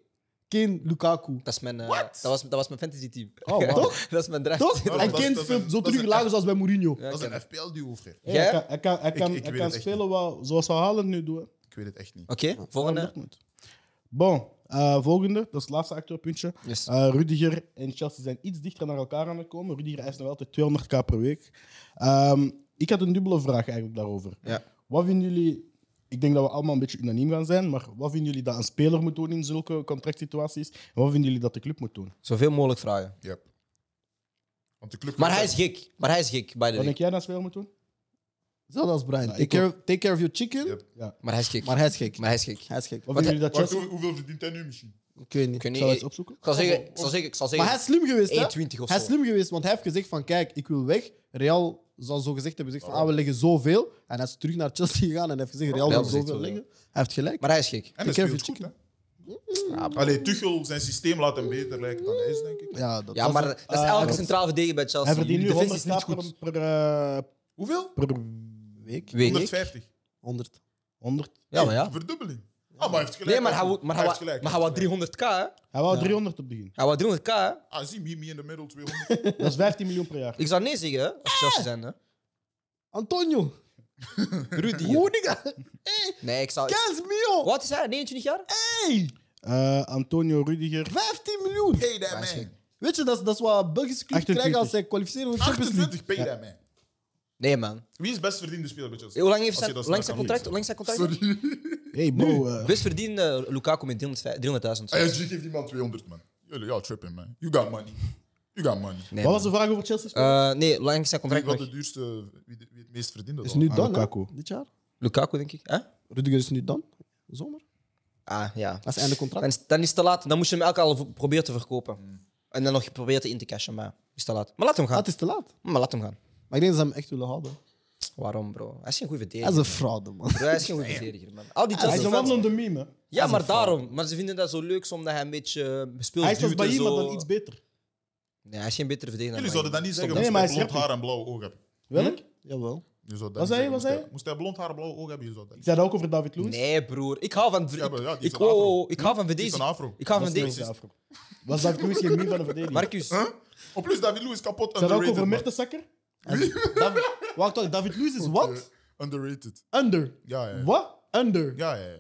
Kane. Kane, Lukaku. Dat, is mijn, eh, dat, was, dat was mijn fantasy team. Oh, wow. Toch? dat is mijn draft. Toch? Ja, en dat is- Kane dat is een- speelt zo dat is terug een lager zoals bij Mourinho. Ja, Dat is oké. een FPL-duo, of geen? Hey, Ja? Hij kan, hij kan, hij Ik- kan, ik hij weet kan het echt spelen wat, zoals we Haaland nu doen. Ik weet het echt niet. Oké, volgende. Dortmund. Oh, Bon, eh, Eh, volgende, dat is het laatste acteurpuntje. Yes. Eh, Rudiger en Chelsea zijn iets dichter naar elkaar aan het komen. Rudiger eist nog altijd 200k per week. Ehm, ik had een dubbele vraag eigenlijk daarover. Ja. Wat vinden jullie... Ik denk dat we allemaal een beetje unaniem gaan zijn, maar wat vinden jullie dat een speler moet doen in zulke contractsituaties? En wat vinden jullie dat de club moet doen? Zoveel mogelijk vragen. Ja. Want de club Maar hij is gek. Maar hij is gek, by the Wat way. denk jij dat een speler moet doen? Hetzelfde als Brian. take, ik care, take care of your chicken. Ja. Maar hij is gek. Maar hij is gek. Maar hij is gek. Hij is gek. Wat Wat vinden jullie dat Wacht, Chelsea... hoe- hoeveel verdient hij nu misschien? Ik weet niet. Ik weet Ik niet. zal eens Ik opzoeken. zal zeggen, ik zal zeggen, ik zal zeggen. Maar hij is slim geweest, hè? 1,20 of Hij is zo. slim geweest, want hij heeft gezegd van kijk, ik wil weg. Real zou zo gezegd hebben gezegd van ah, we leggen zoveel. En hij is terug naar Chelsea gegaan en heeft gezegd Real Real wil zegt zoveel wel, ja. leggen. Hij heeft gelijk. Maar hij is gek. En hij care of speelt your goed, hè? Allee, Tuchel, zijn systeem laat hem beter lijken dan hij is, denk ik. Ja, dat eh, Ja, was maar het. dat is elke centraal verdediger bij Chelsea. Hij verdient nu De defensie is 100k niet per, goed. per, eh, Hoeveel? per week. Weet ik. 150. 100. 100. Ja, maar ja. Verdubbeling. Ah, maar hij heeft gelijk. Nee, maar hij wou- heeft- maar hij heeft wou- gelijk. maar hij wou 300k, hè? Hij wou 300 op het begin. Hij wou 300k, hè? Ah, zie Mimi in de middel 200. Dat is 15 miljoen per jaar. Ik zou nee zeggen, hè? Als Chelsea zijn, hè? Antonio, Rudy. Rudiger, hey, Nee, ik zou... 15 miljoen, Wat is hij? 29 jaar? hey, Eh, Antonio Rudiger. 15 miljoen. Pay that Hij is gek. man. Weet je, dat is, dat is wat Belgische clubs 28. krijgen als zij kwalificeren voor de Champions League. 28, pay that man. Nee, man. Wie is best verdiende speler bij Hey, Chelsea? Hoe lang heeft Als zijn, je dat hoe lang zijn snel contract? Hoe kan lang zijn contract? lezen. Sorry. Hey bro. eh, Best verdiende Lukaku met 300 300.000. Ah, ja, je geeft iemand 200, man. Jullie, ja, tripping, man. You got money. You got money. wat Nee, man. was de vraag over Chelsea? Eh, nee, hoe lang zijn Wie contract wat nog? de duurste, wie, de- wie het meest verdiende Is dan? nu Ah, dan, hè, Lukaku. dit jaar. Lukaku, denk ik. hè? Rudiger is nu dan, zomer. Ah, ja. Dat is einde Dan contract. is, dan is het te laat. Dan moest je hem elke al v- proberen te verkopen. En dan nog proberen te in te cashen, maar is te laat. Maar laat hem Ah, gaan. het is te laat. Maar laat hem gaan. Maar ik denk dat ze hem echt willen houden. Waarom, bro? Hij is geen goede Dat is verdediger. een fraude, man. Bro, hij is geen goede verdediger, man. Al die Hij is Chelsea een fans- wandelende meme. hè. Ja, maar daarom. Maar ze vinden dat zo leuk, omdat hij een beetje eh, speelt Hij is als duwt en Bailly, maar zo. dan iets beter. Nee, hij is geen betere verdediger Jullie zouden dan dat Bayern. niet zeggen, Nee, moest maar hij hij is blond haar en blauw oog hebben. Welk? Jawel. Je zou dat Wat niet zei je, zeggen. wat Moest hij- zei je? Moest hij blond haar en blauw oog hebben, je zou dat Ik zei dat ook over David Luiz. Nee, broer. Ik hou van... Ja, maar ja, die is ik, een oh, afro. oh, ik hou van Die is een verdediging. afro. Ik hou van Dat is verdediging. niet afro. Was David Luiz geen meme van een verdediger? Ik Marcus. En plus, David Lewis zei kapot dat ook underrated. over man. Mertensacker? David, wacht, wacht, David Luiz is Eh, wat? Underrated. Under. Ja, ja. ja. Wat? Under. Ja, ja, ja.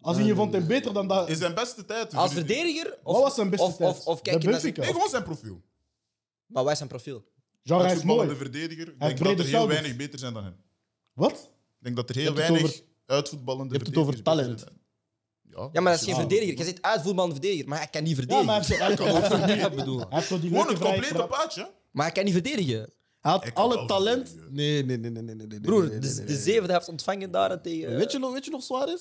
Als in je vond hem beter dan dat. In zijn beste tijd. Als verdediger. verdediger... Of, Wat was zijn beste of, tijd? Of, of Bij kijk je naar zijn- Benfica. Nee, gewoon zijn profiel. Maar wij zijn profiel. Genre, hij Als is mooi. voetballende verdediger. Ik Hij heeft denk dat brede er heel schouders. weinig beter zijn dan hem. Wat? Ik denk dat er Je heel hebt het weinig uitvoetballende je hebt het over verdedigers beter zijn. Ja, maar dat is misschien geen wel. verdediger. Je zit uitvoetballend verdediger, maar hij kan niet Ja, verdedigen. maar hij heeft zo- hij heeft zo- hij heeft zo- Dat bedoel. hij heeft zo die Gewoon leuke het vrije complete trap. paadje. Maar hij kan niet verdedigen. Hij had Ik kan alle wel talent. verdedigen. Nee, nee, nee, nee, nee, nee, nee. Broer, nee, nee, nee, de, nee, de nee. zevende heeft ontvangen daar tegen... eh, Weet je, nog- weet je nog Suarez?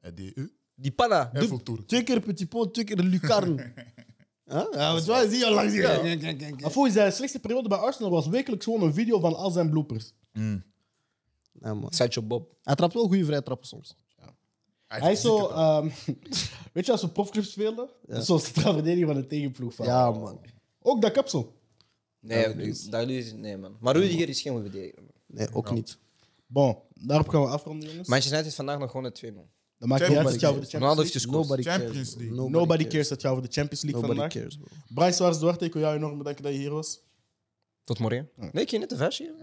Hij deed u. Die panna. Hij voltoert. Twee keer Petit Pot, twee keer Lucarne. Huh? Ja, want Suarez zie je al langs hier. Kijk, kijk, kijk, kijk. Afoe, zijn slechtste periode bij Arsenal was wekelijks gewoon een video van al zijn bloopers. Ja, man. Sancho Bob. Hij trapt wel goede vrije trappen soms. Hij is zo... fysieke- ehm, Weet je, als we profclubs speelden, dat is zo'n centraal verdediger van een tegenploeg. van. Ja, man. Ook dat kapsel. Nee, dat is nee, man. Maar Rudiger is geen goede verdediger. man. Nee, ook niet. Bon, daarop gaan we afronden, jongens. Manchester United is vandaag nog gewoon een 2 man. Dat maakt niet uit, Nobody het gaat over de Champions Ronaldo League. heeft gescoord. Nobody Champions cares. bro. League. Nobody, cares dat je over de Champions League Nobody vandaag. cares, bro. Brian Suarez Duarte, ik wil jou enorm bedanken dat je hier was. Tot morgen. Nee, ik ging net te vers hier.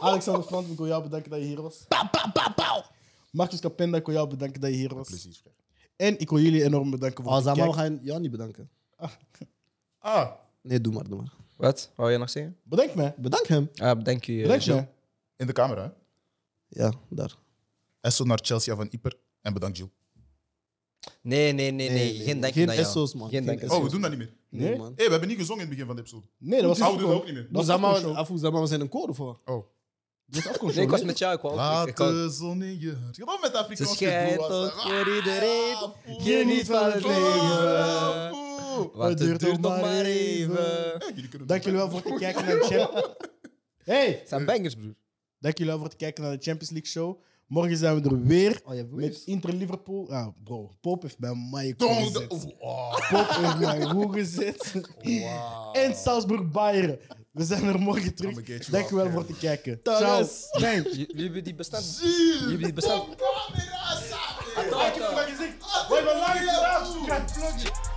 Alexander Frans, ik wil jou bedanken dat je hier was. Pow, pow, pow, pow. Marcus Capenda, ik wil jou bedanken dat je hier was. Plezier. vriend. En ik wil jullie enorm bedanken voor Als het dat maar, we kijken. Oh, gaan jou niet bedanken. Ah, Nee, doe maar, doe maar. Wat? Wou je nog zeggen? Bedankt me. Bedank hem. Ah, bedankt je. eh, Bedankt Jill. me. in de camera. hè. Ja, daar. En zo naar Chelsea van Ieper. En bedankt, Jill. Nee, nee, nee, nee. Nee, nee, Geen nee. dank Geen aan jou. SO's, man. Geen Geen dank aan Oh, jou. we doen dat niet meer. Nee? Nee, man. Hé, we hebben niet gezongen in het begin van de episode. Nee, dat was Ouderen afkomen. ook niet meer. Dat was Zama- afkomen. Afu, Zama, we zijn een koor of wat? Oh. Dat was afkomen. Nee, ik was nee. met jou. Ik wou ook- ik- Laat ik wou- de zon in je hart. Je gaat met Ze Afrikaans schijnt ook voor Ah, iedereen. Geniet van het leven. leven. Want het duurt nog maar even. Dank jullie wel voor het kijken naar de Champions... Hey! Het zijn bangers, broer. Dank jullie wel voor het kijken naar de Champions League show. Morgen zijn we er weer. Oh, je Met Inter Liverpool. Ja, bro. Pop heeft bij mij Don't. gezet. oh, oh, Pop heeft mij hoe gezet. wow. En Salzburg Bayern. We zijn er morgen terug. I'ma get you Dank je wel out voor there. het kijken. Ciao. Thuis. Thanks. J- Jullie hebben die bestand. Zie. Jullie hebben die bestand. Camera, zaten. Attends, attends. Wat een lange dag.